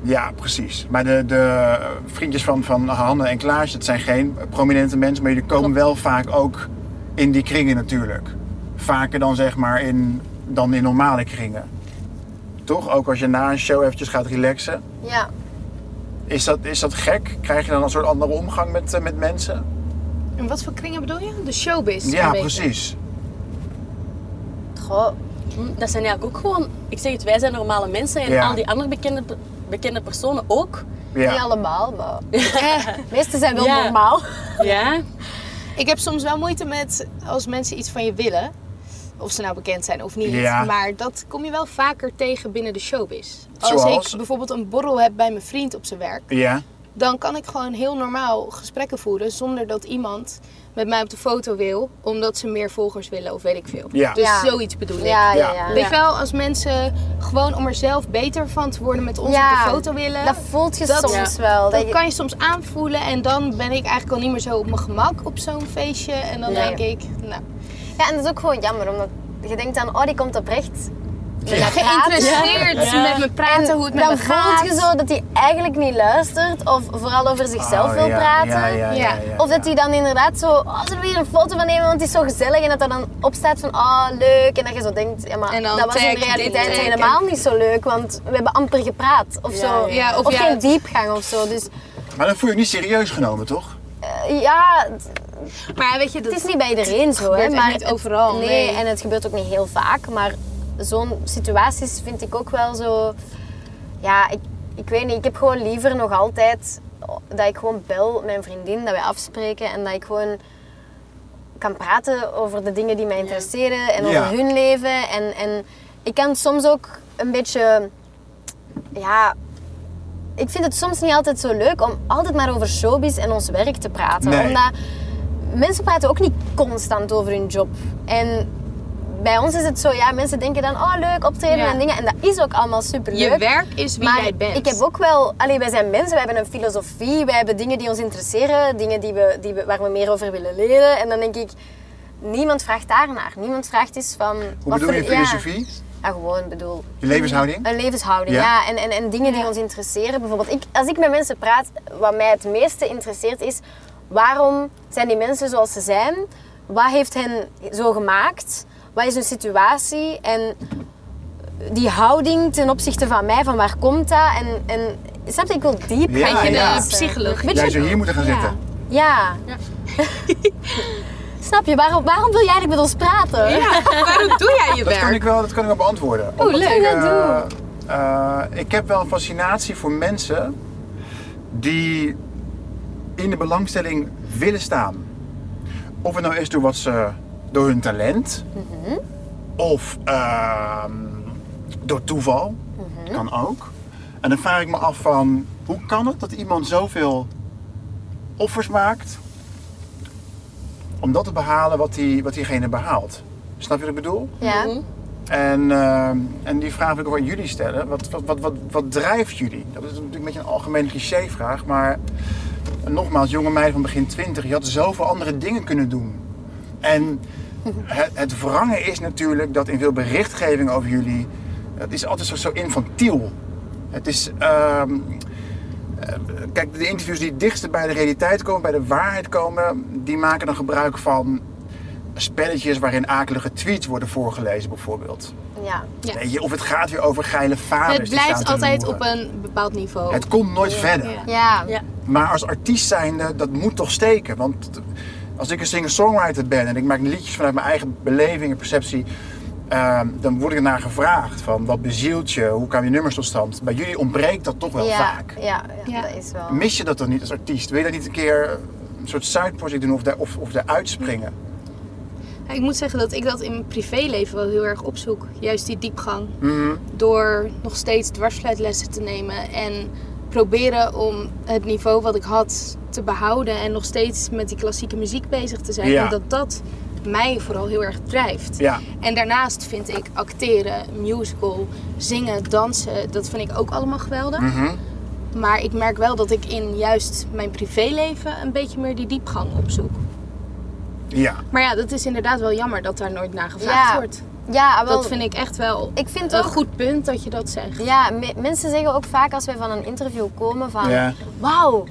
Speaker 2: Ja, precies. Maar de, de vriendjes van, van Hanne en Klaas, dat zijn geen prominente mensen, maar jullie komen wel vaak ook in die kringen natuurlijk. Vaker dan zeg maar in, dan in normale kringen. Toch? Ook als je na een show eventjes gaat relaxen.
Speaker 4: Ja.
Speaker 2: Is dat, is dat gek? Krijg je dan een soort andere omgang met, eh, met mensen?
Speaker 3: En wat voor kringen bedoel je? De showbiz.
Speaker 2: Ja,
Speaker 3: een beetje.
Speaker 2: precies.
Speaker 4: Goh.
Speaker 5: Hm, Dat zijn eigenlijk ook gewoon, ik zeg het, wij zijn normale mensen en
Speaker 2: Ja.
Speaker 5: al die andere bekende, bekende personen ook.
Speaker 4: Niet
Speaker 2: Ja.
Speaker 4: allemaal,
Speaker 2: [LAUGHS]
Speaker 4: maar de meeste zijn wel
Speaker 5: Ja.
Speaker 4: normaal.
Speaker 5: Ja,
Speaker 3: Ik heb soms wel moeite met als mensen iets van je willen. Of ze nou bekend zijn of niet.
Speaker 2: Ja.
Speaker 3: Maar dat kom je wel vaker tegen binnen de showbiz. Als
Speaker 2: Zoals?
Speaker 3: ik bijvoorbeeld een borrel heb bij mijn vriend op zijn werk.
Speaker 2: Ja.
Speaker 3: Dan kan ik gewoon heel normaal gesprekken voeren. Zonder dat iemand met mij op de foto wil. Omdat ze meer volgers willen of weet ik veel.
Speaker 2: Ja.
Speaker 3: Dus
Speaker 4: Ja.
Speaker 3: zoiets bedoel ik.
Speaker 4: Ja,
Speaker 2: Ja.
Speaker 4: ja, ja.
Speaker 3: Weet je wel, als mensen gewoon om er zelf beter van te worden met ons op
Speaker 4: Ja,
Speaker 3: de foto willen.
Speaker 4: Dat voelt je
Speaker 3: Dat-
Speaker 4: soms wel.
Speaker 3: Dat
Speaker 4: je-
Speaker 3: kan je soms aanvoelen en dan ben ik eigenlijk al niet meer zo op mijn gemak op zo'n feestje. En dan
Speaker 4: Nee.
Speaker 3: denk ik, nou,
Speaker 4: Ja, en dat is ook gewoon jammer, omdat je denkt dan, oh, die komt oprecht.
Speaker 2: Ja.
Speaker 3: geïnteresseerd
Speaker 5: Ja.
Speaker 3: met me praten, hoe het met
Speaker 4: dan
Speaker 3: me gaat.
Speaker 4: Nou, voelt je zo dat hij eigenlijk niet luistert of vooral over zichzelf
Speaker 2: Oh,
Speaker 4: wil
Speaker 2: ja,
Speaker 4: praten.
Speaker 2: Ja, ja, ja,
Speaker 3: Ja.
Speaker 2: ja,
Speaker 4: Of dat
Speaker 2: ja.
Speaker 4: hij dan inderdaad zo, oh, zullen we hier een foto van nemen, want het is zo gezellig. En dat er dan op staat van, ah, leuk. En dat je zo denkt, ja, maar
Speaker 3: En dan
Speaker 4: dat was in
Speaker 3: tag,
Speaker 4: de realiteit
Speaker 3: dit, tag,
Speaker 4: helemaal niet zo leuk, want we hebben amper gepraat of
Speaker 5: Ja,
Speaker 4: zo.
Speaker 3: ja. Ja, of
Speaker 4: of
Speaker 3: ja.
Speaker 4: geen diepgang of zo. Dus
Speaker 2: Maar dat voel je niet serieus genomen, toch?
Speaker 4: eh, ja, het-
Speaker 3: Maar weet je, dat
Speaker 4: het is niet bij iedereen zo, hè.
Speaker 3: gebeurt echt
Speaker 4: Maar
Speaker 3: niet
Speaker 4: het-
Speaker 3: overal,
Speaker 4: Nee,
Speaker 3: nee.
Speaker 4: en het gebeurt ook niet heel vaak, maar zo'n situaties vind ik ook wel zo... Ja, ik, ik weet niet, ik heb gewoon liever nog altijd dat ik gewoon bel mijn vriendin, dat wij afspreken en dat ik gewoon kan praten over de dingen die mij interesseren en over
Speaker 2: Ja.
Speaker 4: hun leven. En, en ik kan soms ook een beetje... Ja, ik vind het soms niet altijd zo leuk om altijd maar over showbiz en ons werk te praten.
Speaker 2: Nee.
Speaker 4: Omdat mensen praten ook niet constant over hun job. En bij ons is het zo, ja, mensen denken dan, oh leuk, optreden
Speaker 3: Ja.
Speaker 4: en dingen. En dat is ook allemaal superleuk.
Speaker 3: je werk is wie
Speaker 4: maar
Speaker 3: jij bent.
Speaker 4: ik heb ook wel... Allee, wij zijn mensen, wij hebben een filosofie. Wij hebben dingen die ons interesseren. Dingen die we, die we, waar we meer over willen leren. En dan denk ik, niemand vraagt daarnaar. Niemand vraagt eens van...
Speaker 2: Hoe bedoel je
Speaker 4: voor- ja.
Speaker 2: filosofie?
Speaker 4: Ja, gewoon bedoel...
Speaker 2: Je levenshouding?
Speaker 4: Een levenshouding,
Speaker 2: Ja.
Speaker 4: ja. En, en, en dingen die
Speaker 3: Ja.
Speaker 4: ons interesseren. Bijvoorbeeld, ik, als ik met mensen praat, wat mij het meeste interesseert is... Waarom zijn die mensen zoals ze zijn? Wat heeft hen zo gemaakt? Wat is hun situatie? En die houding ten opzichte van mij, van waar komt dat? En, en snap je, ik wil diep
Speaker 2: Ja,
Speaker 4: gaan
Speaker 3: Beetje
Speaker 2: ja.
Speaker 3: de
Speaker 5: Hm,
Speaker 3: psycholoog.
Speaker 2: Jij zou hier moeten gaan
Speaker 3: Ja.
Speaker 2: zitten.
Speaker 4: Ja. [LAUGHS] snap je, waarom, waarom wil jij eigenlijk met ons praten?
Speaker 3: Ja, waarom doe jij je
Speaker 2: Dat kan
Speaker 3: werk?
Speaker 2: ik wel, dat kan ik wel beantwoorden.
Speaker 3: Oh,
Speaker 2: Omdat
Speaker 3: leuk.
Speaker 2: ik,
Speaker 4: Wat zou je nou
Speaker 2: eh,
Speaker 4: dat
Speaker 2: eh, ik heb wel een fascinatie voor mensen die in de belangstelling willen staan. Of het nou is door wat ze door hun talent
Speaker 3: Mhm.
Speaker 2: of ehm, door toeval
Speaker 3: Mhm.
Speaker 2: kan ook. En dan vraag ik me af van hoe kan het dat iemand zoveel offers maakt om dat te behalen wat, die, wat diegene behaalt. Snap je wat ik bedoel?
Speaker 4: Ja.
Speaker 2: En, ehm, en die vraag wil ik ook aan jullie stellen. Wat, wat, wat, wat, wat drijft jullie? Dat is natuurlijk een beetje een algemene cliché-vraag. Maar nogmaals, jonge meid van begin 20, je had zoveel andere dingen kunnen doen. En het, het wrange is natuurlijk dat in veel berichtgeving over jullie. Het is altijd zo, zo infantiel. Het is. ehm, eh, Kijk, de interviews die het dichtst bij de realiteit komen, bij de waarheid komen, die maken dan gebruik van spelletjes waarin akelige tweets worden voorgelezen, bijvoorbeeld.
Speaker 4: Ja.
Speaker 3: Ja.
Speaker 2: Weet je, of het gaat weer over geile vaders.
Speaker 3: Het
Speaker 2: die
Speaker 3: blijft
Speaker 2: staan te
Speaker 3: altijd
Speaker 2: loeren.
Speaker 3: op een bepaald niveau.
Speaker 2: Het komt nooit verder.
Speaker 3: Ja.
Speaker 4: Ja.
Speaker 5: ja.
Speaker 2: Maar als artiest zijnde, dat moet toch steken. Want t- als ik een singer-songwriter ben en ik maak liedjes vanuit mijn eigen beleving en perceptie, ehm, dan word ik ernaar gevraagd van wat bezielt je, hoe kwam je nummers tot stand. Bij jullie ontbreekt dat toch wel
Speaker 4: ja.
Speaker 2: vaak.
Speaker 4: Ja, ja,
Speaker 3: Ja.
Speaker 4: dat is wel.
Speaker 2: Mis je dat dan niet als artiest? Wil je dat niet een keer een soort side project doen of, daar, of, of daaruit springen?
Speaker 3: Ja, Ik moet zeggen dat ik dat in mijn privéleven wel heel erg
Speaker 2: Mhm.
Speaker 3: opzoek. Juist die diepgang. Door nog steeds dwarsfluitlessen te nemen en proberen om het niveau wat ik had te behouden en nog steeds met die klassieke muziek bezig te zijn.
Speaker 2: Ja.
Speaker 3: En dat dat mij vooral heel erg drijft.
Speaker 2: Ja.
Speaker 3: En daarnaast vind ik acteren, musical, zingen, dansen, dat vind ik ook allemaal geweldig.
Speaker 2: Mhm.
Speaker 3: Maar ik merk wel dat ik in juist mijn privéleven een beetje meer die diepgang opzoek.
Speaker 2: Ja.
Speaker 3: Maar ja, dat is inderdaad wel jammer dat daar nooit naar gevraagd
Speaker 4: Ja.
Speaker 3: wordt.
Speaker 4: Ja, wel,
Speaker 3: Dat vind ik echt wel
Speaker 4: ik vind
Speaker 3: een
Speaker 4: ook...
Speaker 3: goed punt dat je dat zegt.
Speaker 4: Ja, me- mensen zeggen ook vaak als wij van een interview komen van...
Speaker 2: Ja.
Speaker 4: Wauw,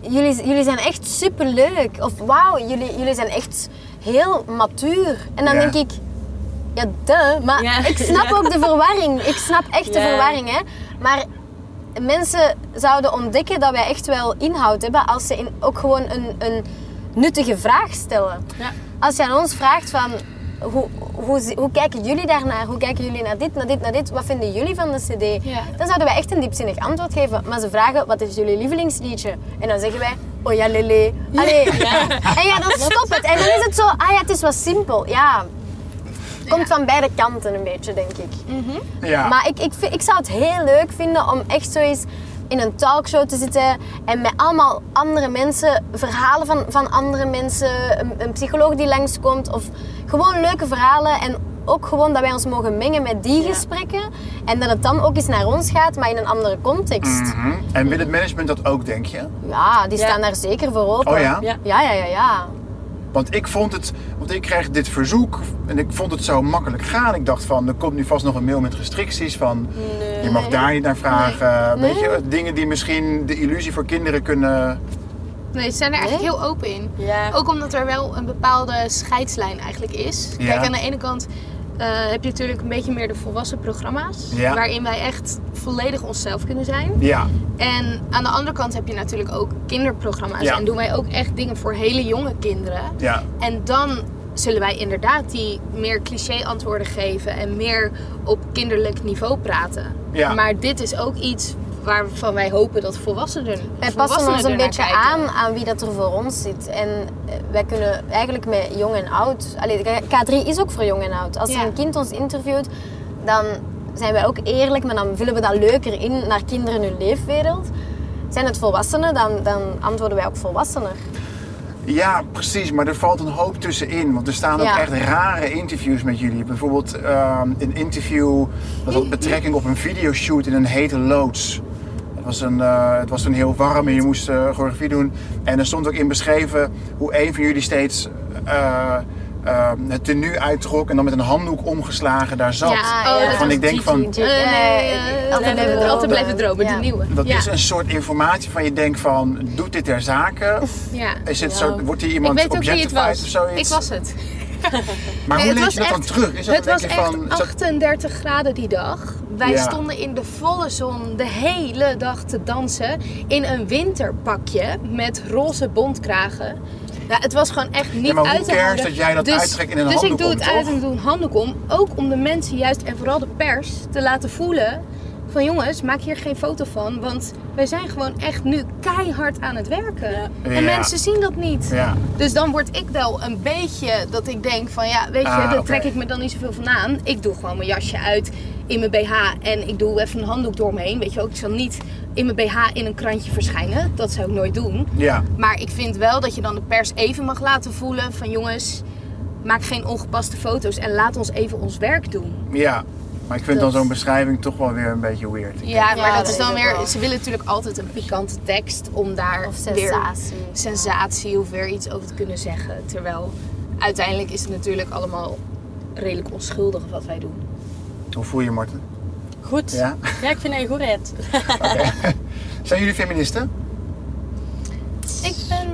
Speaker 4: jullie, jullie zijn echt superleuk. Of wauw, jullie, jullie zijn echt heel matuur. En dan
Speaker 2: Ja.
Speaker 4: denk ik... Ja, duh. Maar
Speaker 5: Ja.
Speaker 4: ik snap
Speaker 5: Ja.
Speaker 4: ook de verwarring. Ik snap echt de
Speaker 5: Ja.
Speaker 4: verwarring, hè. Maar mensen zouden ontdekken dat wij echt wel inhoud hebben... als ze in, ook gewoon een, een nuttige vraag stellen.
Speaker 5: Ja.
Speaker 4: Als je aan ons vraagt van... Hoe, hoe, zi- hoe kijken jullie daarnaar? Hoe kijken jullie naar dit, naar dit, naar dit? Wat vinden jullie van de CD?
Speaker 3: Ja.
Speaker 4: Dan zouden wij echt een diepzinnig antwoord geven. Maar ze vragen, wat is jullie lievelingsliedje? En dan zeggen wij, oh ja, lele. Allee. En ja, dan stopt het. En dan is het zo, ah ja, het is wat simpel. Ja. Komt van beide kanten een beetje, denk ik.
Speaker 2: Ja.
Speaker 4: Maar ik, ik, vind- ik zou het heel leuk vinden om echt zo eens in een talkshow te zitten en met allemaal andere mensen, verhalen van, van andere mensen, een, een psycholoog die langskomt of gewoon leuke verhalen en ook gewoon dat wij ons mogen mengen met die gesprekken en dat het dan ook eens naar ons gaat, maar in een andere context.
Speaker 2: Mhm. En wil het management dat ook, denk je?
Speaker 4: Ja, die
Speaker 5: Ja.
Speaker 4: staan daar zeker voor open.
Speaker 2: Oh ja?
Speaker 5: Ja.
Speaker 4: Ja, ja, ja, ja.
Speaker 2: Want ik vond het, want ik kreeg dit verzoek en ik vond het zo makkelijk gaan. Ik dacht van, er komt nu vast nog een mail met restricties van, je mag daar niet naar vragen. Weet je, dingen die misschien de illusie voor kinderen kunnen...
Speaker 3: Nee, ze zijn er eigenlijk heel open in.
Speaker 5: Ja.
Speaker 3: Ook omdat er wel een bepaalde scheidslijn eigenlijk is.
Speaker 2: Ja.
Speaker 3: Kijk, aan de ene kant eh, heb je natuurlijk een beetje meer de volwassen programma's.
Speaker 2: Ja.
Speaker 3: Waarin wij echt volledig onszelf kunnen zijn.
Speaker 2: Ja,
Speaker 3: En aan de andere kant heb je natuurlijk ook kinderprogramma's.
Speaker 2: Ja.
Speaker 3: En doen wij ook echt dingen voor hele jonge kinderen.
Speaker 2: ja,
Speaker 3: En dan zullen wij inderdaad die meer cliché antwoorden geven en meer op kinderlijk niveau praten.
Speaker 2: Ja.
Speaker 3: Maar dit is ook iets waarvan wij hopen dat volwassenen.
Speaker 4: Wij passen
Speaker 3: volwassenen
Speaker 4: ons een
Speaker 3: ernaar
Speaker 4: beetje
Speaker 3: kijken.
Speaker 4: aan aan wie dat er voor ons zit. En eh, wij kunnen eigenlijk met jong en oud. Allee, K- K3 is ook voor jong en oud. Als
Speaker 3: Ja.
Speaker 4: een kind ons interviewt, dan zijn wij ook eerlijk, maar dan vullen we dat leuker in naar kinderen hun leefwereld. Zijn het volwassenen, dan, dan antwoorden wij ook volwassener.
Speaker 2: ja, precies. Maar er valt een hoop tussenin. Want er staan ook
Speaker 4: Ja.
Speaker 2: echt rare interviews met jullie. Bijvoorbeeld ehm, een interview dat had betrekking op een videoshoot in een hete loods. Het was, een, eh, het was toen heel warm en je moest eh choreografie doen. En er stond ook in beschreven hoe een van jullie steeds eh, eh, het tenue uittrok en dan met een handdoek omgeslagen daar zat.
Speaker 3: ja, dat
Speaker 2: Waarvan
Speaker 3: was
Speaker 2: ik denk van,
Speaker 3: Eh, nee, eh,
Speaker 4: altijd
Speaker 3: blijven-
Speaker 4: blijven
Speaker 3: altijd
Speaker 4: dromen.
Speaker 3: blijven dromen,
Speaker 4: Ja.
Speaker 3: die nieuwe.
Speaker 2: dat
Speaker 3: ja.
Speaker 2: is een soort informatie van je denkt van, doet dit ter zake?
Speaker 3: ja.
Speaker 2: Is dit
Speaker 5: Ja.
Speaker 2: zo, wordt hier
Speaker 3: Ik
Speaker 2: iemand
Speaker 3: weet ook wie het
Speaker 2: objectified
Speaker 3: was.
Speaker 2: of zoiets?
Speaker 3: Ik was het.
Speaker 2: Maar hoe
Speaker 3: Nee, het
Speaker 2: lees
Speaker 3: was
Speaker 2: je dat dan
Speaker 3: echt-
Speaker 2: terug? Is dat
Speaker 3: Het
Speaker 2: dan
Speaker 3: was
Speaker 2: denk
Speaker 3: echt
Speaker 2: je van, is dat-
Speaker 3: 38 graden die dag. Wij
Speaker 2: Ja.
Speaker 3: stonden in de volle zon de hele dag te dansen. In een winterpakje met roze bontkragen. Ja, het was gewoon echt niet
Speaker 2: Ja, maar hoe
Speaker 3: uit te
Speaker 2: cares
Speaker 3: houden.
Speaker 2: dat jij dat uittrekt in een
Speaker 3: dus
Speaker 2: handdoek
Speaker 3: ik doe
Speaker 2: om,
Speaker 3: het uit
Speaker 2: toch?
Speaker 3: en ik doe een handdoek om. Ook om de mensen juist en vooral de pers te laten voelen... van jongens, maak hier geen foto van. Want wij zijn gewoon echt nu keihard aan het werken. En
Speaker 2: Ja.
Speaker 3: mensen zien dat niet.
Speaker 2: Ja.
Speaker 3: Dus dan word ik wel een beetje dat ik denk van ja, weet je,
Speaker 2: Ah,
Speaker 3: daar
Speaker 2: oké.
Speaker 3: trek ik me dan niet zoveel van aan. Ik doe gewoon mijn jasje uit in mijn BH en ik doe even een handdoek door me heen. Weet je ook, ik zal niet in mijn BH in een krantje verschijnen. Dat zou ik nooit doen.
Speaker 2: Ja,
Speaker 3: Maar ik vind wel dat je dan de pers even mag laten voelen van jongens, maak geen ongepaste foto's en laat ons even ons werk doen.
Speaker 2: ja. Maar ik vind
Speaker 3: Dat-
Speaker 2: dan zo'n beschrijving toch wel weer een beetje weird.
Speaker 3: Ja, maar
Speaker 4: Ja,
Speaker 3: dat
Speaker 4: dat
Speaker 3: is dan
Speaker 4: is ook
Speaker 3: weer,
Speaker 4: wel.
Speaker 3: ze willen natuurlijk altijd een pikante tekst om daar
Speaker 4: Of
Speaker 3: weer
Speaker 4: sensatie.
Speaker 3: sensatie of weer iets over te kunnen zeggen. Terwijl uiteindelijk is het natuurlijk allemaal redelijk onschuldig wat wij doen.
Speaker 2: Hoe voel je, Marten?
Speaker 5: Goed.
Speaker 2: Ja?
Speaker 5: Ja. ik vind dat je goed rijdt.
Speaker 2: Zijn jullie feministen?
Speaker 3: Ik ben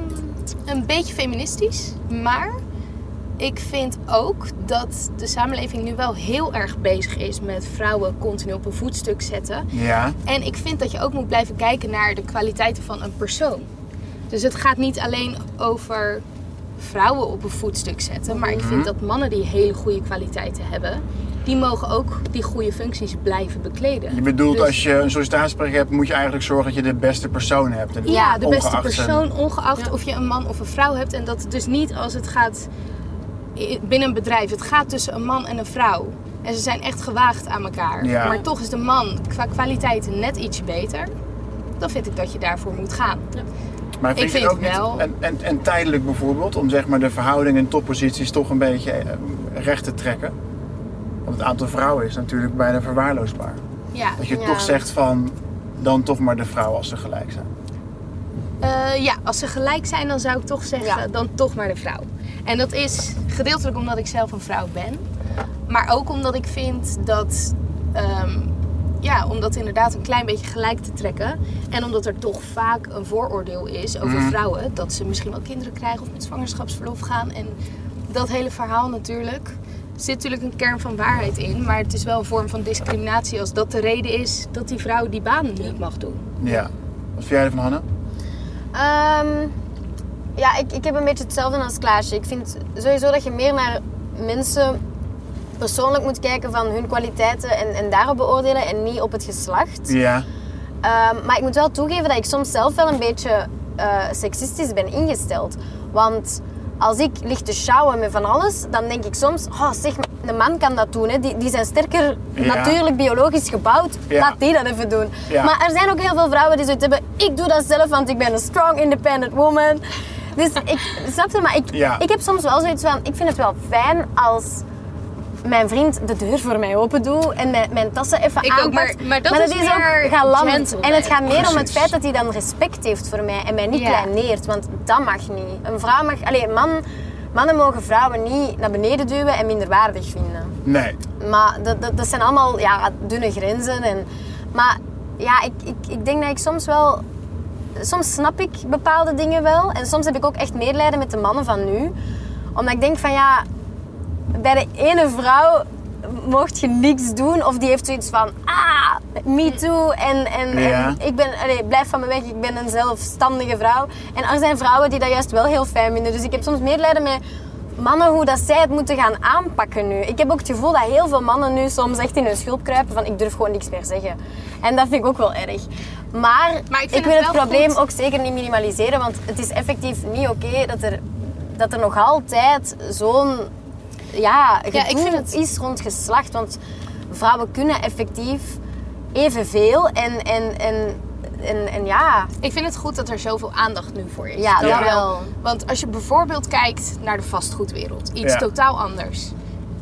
Speaker 3: een beetje feministisch, maar ik vind ook dat de samenleving nu wel heel erg bezig is met vrouwen continu op een voetstuk zetten.
Speaker 2: Ja.
Speaker 3: En ik vind dat je ook moet blijven kijken naar de kwaliteiten van een persoon. Dus het gaat niet alleen over vrouwen op een voetstuk zetten, maar ik
Speaker 2: Mhm.
Speaker 3: vind dat mannen die hele goede kwaliteiten hebben, die mogen ook die goede functies blijven bekleden.
Speaker 2: Je bedoelt
Speaker 3: Dus-
Speaker 2: als je een sollicitatiegesprek hebt, moet je eigenlijk zorgen dat je de beste persoon hebt. En
Speaker 3: Ja, de beste
Speaker 2: ongeacht zijn-
Speaker 3: persoon, ongeacht of je een man of een vrouw hebt. En dat het dus niet als het gaat i- binnen een bedrijf. Het gaat tussen een man en een vrouw. En ze zijn echt gewaagd aan elkaar.
Speaker 2: Ja.
Speaker 3: Maar toch is de man qua kwaliteiten net ietsje beter. dan vind ik dat je daarvoor moet gaan.
Speaker 2: Maar vind
Speaker 3: Ik
Speaker 2: je
Speaker 3: vind
Speaker 2: het ook
Speaker 3: het wel.
Speaker 2: niet... En, en, en tijdelijk bijvoorbeeld, om zeg maar de verhouding in topposities toch een beetje eh, recht te trekken. Want het aantal vrouwen is natuurlijk bijna verwaarloosbaar.
Speaker 3: Ja,
Speaker 2: Dat je
Speaker 4: Ja.
Speaker 2: toch zegt van, dan toch maar de vrouwen als ze gelijk zijn.
Speaker 3: Eh, ja, als ze gelijk zijn, dan zou ik toch zeggen,
Speaker 4: Ja.
Speaker 3: dan toch maar de vrouw. En dat is gedeeltelijk omdat ik zelf een vrouw ben. Maar ook omdat ik vind dat... ehm, ja, om dat inderdaad een klein beetje gelijk te trekken. En omdat er toch vaak een vooroordeel is over vrouwen. Dat ze misschien wel kinderen krijgen of met zwangerschapsverlof gaan. En dat hele verhaal natuurlijk. Er zit natuurlijk een kern van waarheid in. Maar het is wel een vorm van discriminatie als dat de reden is dat die vrouw die baan niet mag doen.
Speaker 2: Ja. Wat vind jij ervan, Hanne?
Speaker 4: Ehm, ja, ik, ik heb een beetje hetzelfde als Klaasje. Ik vind sowieso dat je meer naar mensen persoonlijk moet kijken van hun kwaliteiten en, en daarop beoordelen en niet op het geslacht.
Speaker 2: Ja.
Speaker 4: Ehm, maar ik moet wel toegeven dat ik soms zelf wel een beetje eh, seksistisch ben ingesteld. Want als ik lig te sjouwen met van alles, dan denk ik soms... Oh, zeg, een man kan dat doen. Hè. Die, die zijn sterker
Speaker 2: Ja.
Speaker 4: natuurlijk biologisch gebouwd.
Speaker 2: Ja.
Speaker 4: Laat die dat even doen.
Speaker 2: Ja.
Speaker 4: Maar er zijn ook heel veel vrouwen die zoiets hebben... Ik doe dat zelf, want ik ben een strong, independent woman. Dus ik... Snap je? Maar ik,
Speaker 2: Ja.
Speaker 4: ik heb soms wel zoiets van... Ik vind het wel fijn als... Mijn vriend de deur voor mij open doet en mijn, mijn tassen even
Speaker 3: Ik ook,
Speaker 4: aanpakt.
Speaker 3: maar- maar dat is meer
Speaker 4: ook galant.
Speaker 3: gentleman.
Speaker 4: En het gaat meer om het
Speaker 2: Precies.
Speaker 4: feit dat hij dan respect heeft voor mij en mij niet
Speaker 3: Ja.
Speaker 4: kleineert. Want dat mag niet. Een vrouw mag... Allee, man, mannen mogen vrouwen niet naar beneden duwen en minderwaardig vinden.
Speaker 2: Nee.
Speaker 4: Maar dat, dat, dat zijn allemaal ja, dunne grenzen. En, maar ja, ik, ik, ik denk dat ik soms wel... Soms snap ik bepaalde dingen wel. En soms heb ik ook echt medelijden met de mannen van nu. Omdat ik denk van ja... Bij de ene vrouw mocht je niks doen. Of die heeft zoiets van... Ah, me too. En, en,
Speaker 2: Ja.
Speaker 4: en ik ben... Allee, blijf van me weg. Ik ben een zelfstandige vrouw. En er zijn vrouwen die dat juist wel heel fijn vinden. Dus ik heb soms medelijden met mannen hoe dat zij het moeten gaan aanpakken nu. Ik heb ook het gevoel dat heel veel mannen nu soms echt in hun schulp kruipen van ik durf gewoon niks meer zeggen. En dat vind ik ook wel erg. Maar,
Speaker 3: Maar ik
Speaker 4: ik,
Speaker 3: vind
Speaker 4: wil
Speaker 3: het
Speaker 4: het
Speaker 3: wel
Speaker 4: probleem
Speaker 3: goed.
Speaker 4: ook zeker niet minimaliseren, want het is effectief niet oké dat, er, dat er nog altijd zo'n ja,
Speaker 3: Ja, ik
Speaker 4: gedoe
Speaker 3: vind het-
Speaker 4: is rond geslacht. Want vrouwen kunnen effectief evenveel en, en, en, en, en ja,
Speaker 3: Ik vind het goed dat er zoveel aandacht nu voor is.
Speaker 4: Ja, dat wel.
Speaker 3: Want als je bijvoorbeeld kijkt naar de vastgoedwereld, iets
Speaker 2: Ja.
Speaker 3: totaal anders.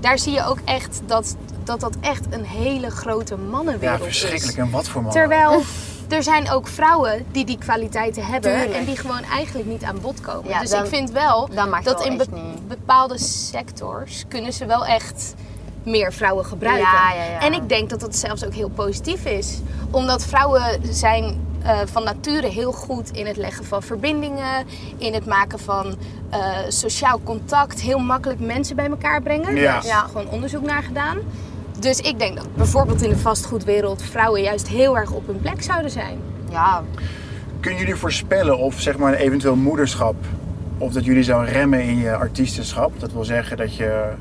Speaker 3: Daar zie je ook echt dat dat, dat echt een hele grote
Speaker 2: Ja,
Speaker 3: mannenwereld
Speaker 2: verschrikkelijk.
Speaker 3: is.
Speaker 2: En wat voor man.
Speaker 3: [LAUGHS] Terwijl er zijn ook vrouwen die die kwaliteiten hebben
Speaker 4: Tuurlijk.
Speaker 3: en die gewoon eigenlijk niet aan bod komen.
Speaker 4: Ja,
Speaker 3: dus
Speaker 4: dan-
Speaker 3: ik vind wel
Speaker 4: dat mag wel
Speaker 3: in
Speaker 4: echt
Speaker 3: be-
Speaker 4: niet.
Speaker 3: bepaalde sectors kunnen ze wel echt meer vrouwen gebruiken.
Speaker 4: Ja, ja, ja.
Speaker 3: En ik denk dat dat zelfs ook heel positief is. Omdat vrouwen zijn eh, van nature heel goed in het leggen van verbindingen, in het maken van eh, sociaal contact, heel makkelijk mensen bij elkaar brengen.
Speaker 2: Ja.
Speaker 3: Daar is
Speaker 4: Ja.
Speaker 3: gewoon onderzoek naar gedaan. Dus ik denk dat bijvoorbeeld in de vastgoedwereld vrouwen juist heel erg op hun plek zouden zijn.
Speaker 4: ja
Speaker 2: Kunnen jullie voorspellen of zeg maar een eventueel moederschap, of dat jullie zou remmen in je artiestenschap? Dat wil zeggen dat je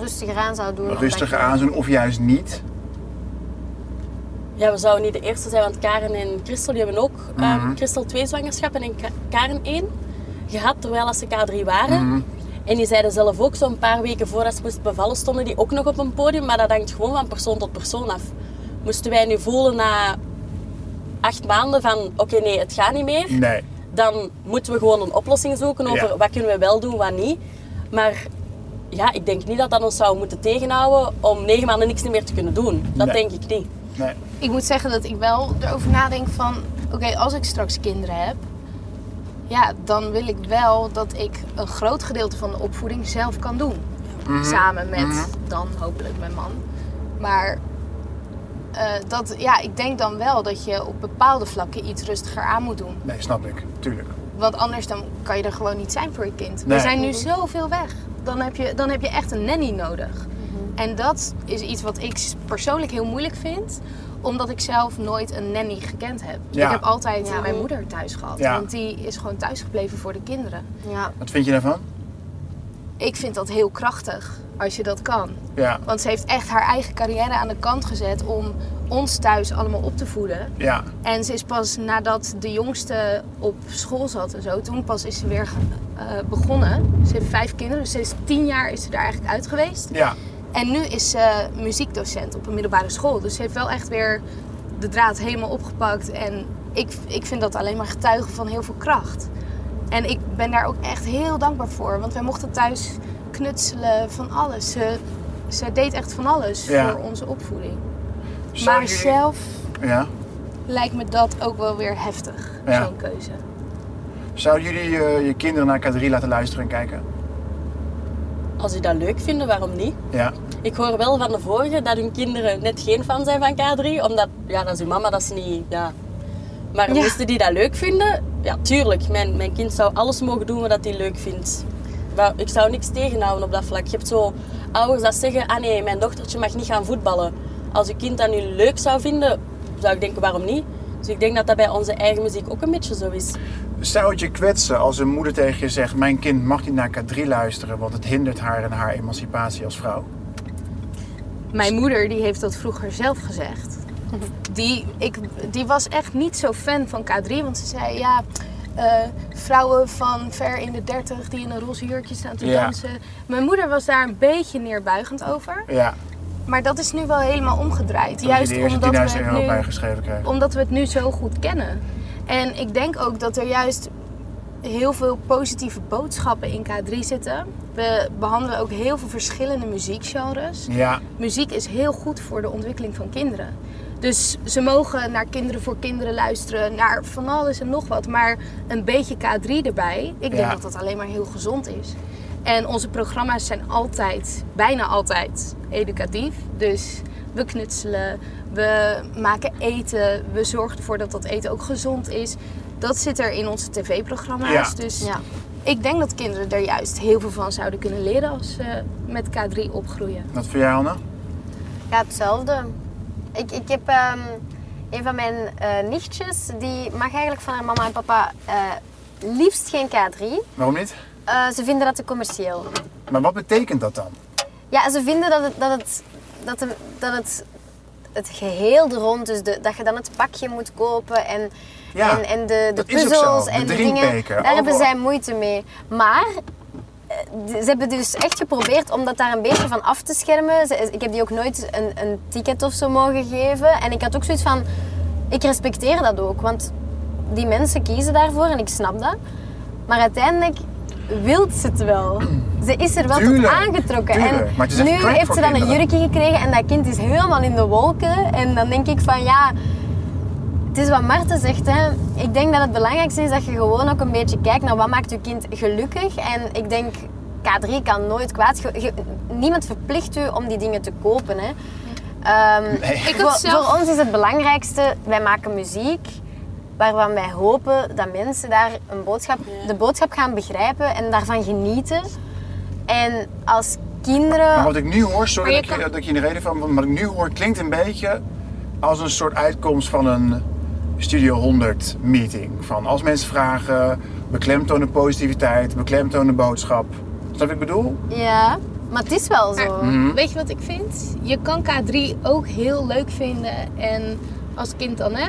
Speaker 4: rustiger aan zou doen. of
Speaker 2: rustiger
Speaker 4: dat je-
Speaker 2: aan zou doen of juist niet.
Speaker 5: Ja, we zouden niet de eerste zijn, want Karen en Christel die hebben ook ehm,
Speaker 2: Mhm.
Speaker 5: Christel twee zwangerschappen en Ka- Karen één gehad terwijl als ze K3 waren.
Speaker 2: Mhm.
Speaker 5: En die zeiden zelf ook zo'n paar weken voordat ze moest bevallen, stonden die ook nog op een podium. Maar dat hangt gewoon van persoon tot persoon af. Moesten wij nu voelen na acht maanden van oké nee, het gaat niet meer
Speaker 2: Nee.
Speaker 5: dan moeten we gewoon een oplossing zoeken over
Speaker 2: Ja.
Speaker 5: wat kunnen we wel doen, wat niet. Maar ja, ik denk niet dat dat ons zou moeten tegenhouden om negen maanden niks meer te kunnen doen. Dat
Speaker 2: Nee.
Speaker 5: denk ik niet.
Speaker 2: nee.
Speaker 3: ik moet zeggen dat ik wel erover nadenk van... Oké, als ik straks kinderen heb... Ja, dan wil ik wel dat ik een groot gedeelte van de opvoeding zelf kan doen. Samen met dan hopelijk mijn man. Maar eh, dat, ja, ik denk dan wel dat je op bepaalde vlakken iets rustiger aan moet doen.
Speaker 2: Nee, snap ik. Tuurlijk.
Speaker 3: Want anders dan kan je er gewoon niet zijn voor je kind.
Speaker 2: Nee.
Speaker 3: We zijn nu zoveel weg. Dan heb je, dan heb je echt een nanny nodig. En dat is iets wat ik s- persoonlijk heel moeilijk vind omdat ik zelf nooit een nanny gekend heb.
Speaker 2: Ja.
Speaker 3: Ik heb altijd
Speaker 4: Ja.
Speaker 3: mijn moeder thuis gehad.
Speaker 2: Ja.
Speaker 3: Want die is gewoon thuis gebleven voor de kinderen.
Speaker 4: Ja.
Speaker 2: Wat vind je daarvan?
Speaker 3: Ik vind dat heel krachtig als je dat kan.
Speaker 2: Ja.
Speaker 3: Want ze heeft echt haar eigen carrière aan de kant gezet om ons thuis allemaal op te voeden.
Speaker 2: Ja.
Speaker 3: En ze is pas nadat de jongste op school zat en zo, toen pas is ze weer eh, begonnen. Ze heeft vijf kinderen, dus ze is tien jaar is ze daar eigenlijk uit geweest.
Speaker 2: Ja.
Speaker 3: En nu is ze muziekdocent op een middelbare school. Dus ze heeft wel echt weer de draad helemaal opgepakt en ik, ik vind dat alleen maar getuigen van heel veel kracht. En ik ben daar ook echt heel dankbaar voor. Want wij mochten thuis knutselen van alles. Ze, ze deed echt van alles
Speaker 2: Ja.
Speaker 3: voor onze opvoeding.
Speaker 2: Zou
Speaker 3: Maar
Speaker 2: jullie-
Speaker 3: zelf
Speaker 2: Ja.
Speaker 3: lijkt me dat ook wel weer heftig,
Speaker 2: Ja.
Speaker 3: zo'n keuze.
Speaker 2: Zouden jullie eh, je kinderen naar K3 laten luisteren en kijken?
Speaker 5: Als die dat leuk vinden, waarom niet?
Speaker 2: Ja.
Speaker 5: Ik hoor wel van de vorige dat hun kinderen net geen fan zijn van K3. Omdat, ja, dat is hun mama, dat is niet, ja. Maar
Speaker 3: Ja.
Speaker 5: moesten die dat leuk vinden? Ja, tuurlijk. Mijn, mijn kind zou alles mogen doen wat hij leuk vindt. Maar ik zou niks tegenhouden op dat vlak. Je hebt zo ouders dat zeggen, ah nee, mijn dochtertje mag niet gaan voetballen. Als je kind dat nu leuk zou vinden, zou ik denken, waarom niet? Dus ik denk dat dat bij onze eigen muziek ook een beetje zo is.
Speaker 2: Zou het je kwetsen als een moeder tegen je zegt: Mijn kind mag niet naar K3 luisteren, want het hindert haar en haar emancipatie als vrouw?
Speaker 3: Mijn moeder die heeft dat vroeger zelf gezegd. Die, ik, die was echt niet zo fan van K3, want ze zei ja. eh, vrouwen van ver in de 30 die in een roze jurkje staan te
Speaker 2: Ja.
Speaker 3: dansen. Mijn moeder was daar een beetje neerbuigend over.
Speaker 2: Ja.
Speaker 3: Maar dat is nu wel helemaal omgedraaid.
Speaker 2: Dat
Speaker 3: Juist
Speaker 2: je de eerste
Speaker 3: omdat we
Speaker 2: 10.000
Speaker 3: het
Speaker 2: euro
Speaker 3: nu
Speaker 2: bijgeschreven krijgt.
Speaker 3: omdat we het nu zo goed kennen. En ik denk ook dat er juist heel veel positieve boodschappen in K3 zitten. We behandelen ook heel veel verschillende muziekgenres.
Speaker 2: Ja.
Speaker 3: Muziek is heel goed voor de ontwikkeling van kinderen. Dus ze mogen naar Kinderen voor Kinderen luisteren, naar van alles en nog wat. Maar een beetje K3 erbij, ik denk
Speaker 2: Ja.
Speaker 3: dat dat alleen maar heel gezond is. En onze programma's zijn altijd, bijna altijd, educatief. Dus we knutselen, we maken eten, we zorgen ervoor dat dat eten ook gezond is. Dat zit er in onze tv-programma's.
Speaker 2: Ja.
Speaker 3: Dus
Speaker 4: Ja.
Speaker 3: ik denk dat kinderen er juist heel veel van zouden kunnen leren als ze met K3 opgroeien.
Speaker 2: Wat voor jou, Anne?
Speaker 4: Ja, hetzelfde. Ik, ik heb ehm, een van mijn eh, nichtjes, die mag eigenlijk van haar mama en papa eh, liefst geen K3.
Speaker 2: Waarom niet?
Speaker 4: Eh, ze vinden dat te commercieel.
Speaker 2: Maar wat betekent dat dan?
Speaker 4: Ja, ze vinden dat het, dat het, dat de- dat het, het geheel er rond, dus de, dat je dan het pakje moet kopen en,
Speaker 2: Ja,
Speaker 4: en, en de, de
Speaker 2: dat is ook
Speaker 4: puzzels
Speaker 2: zo.
Speaker 4: en
Speaker 2: De
Speaker 4: de dingen.
Speaker 2: drinkbeker, Oh,
Speaker 4: Daar hebben
Speaker 2: overal.
Speaker 4: zij moeite mee. Maar eh, ze hebben dus echt geprobeerd om dat daar een beetje van af te schermen. Ze- ik heb die ook nooit een, een ticket of zo mogen geven. En ik had ook zoiets van, ik respecteer dat ook, want die mensen kiezen daarvoor en ik snap dat. Maar uiteindelijk wilt ze het wel. Ze is er wel
Speaker 2: Tuurlijk,
Speaker 4: tot aangetrokken.
Speaker 2: tuurlijk.
Speaker 4: En
Speaker 2: Maar het is echt
Speaker 4: nu
Speaker 2: crap
Speaker 4: heeft
Speaker 2: voor
Speaker 4: ze dan een
Speaker 2: kinderen.
Speaker 4: jurkje gekregen en dat kind is helemaal in de wolken. En dan denk ik van ja, het is wat Marten zegt. Hè. Ik denk dat het belangrijkste is dat je gewoon ook een beetje kijkt naar wat maakt je kind gelukkig. En ik denk, K3 kan nooit kwaad. Je- je- niemand verplicht u om die dingen te kopen. Hè. Ehm,
Speaker 3: Ik
Speaker 4: voor,
Speaker 3: had zelf
Speaker 4: voor ons is het belangrijkste, wij maken muziek waarvan wij hopen dat mensen daar een boodschap, de boodschap gaan begrijpen en daarvan genieten. En als
Speaker 2: Maar
Speaker 4: kinderen...
Speaker 2: wat ik nu hoor, sorry
Speaker 3: Maar je
Speaker 2: dat, ik je,
Speaker 3: kan-
Speaker 2: dat ik je in de reden van, maar wat ik nu hoor klinkt een beetje als een soort uitkomst van een Studio 100 meeting. Van als mensen vragen, beklemtonen positiviteit, beklemtonen boodschap. Snap je wat ik bedoel?
Speaker 4: Ja, maar het is wel zo.
Speaker 5: Ah.
Speaker 3: Maar
Speaker 5: Mhm.
Speaker 3: weet je wat ik vind? Je kan K3 ook heel leuk vinden en als kind dan hè,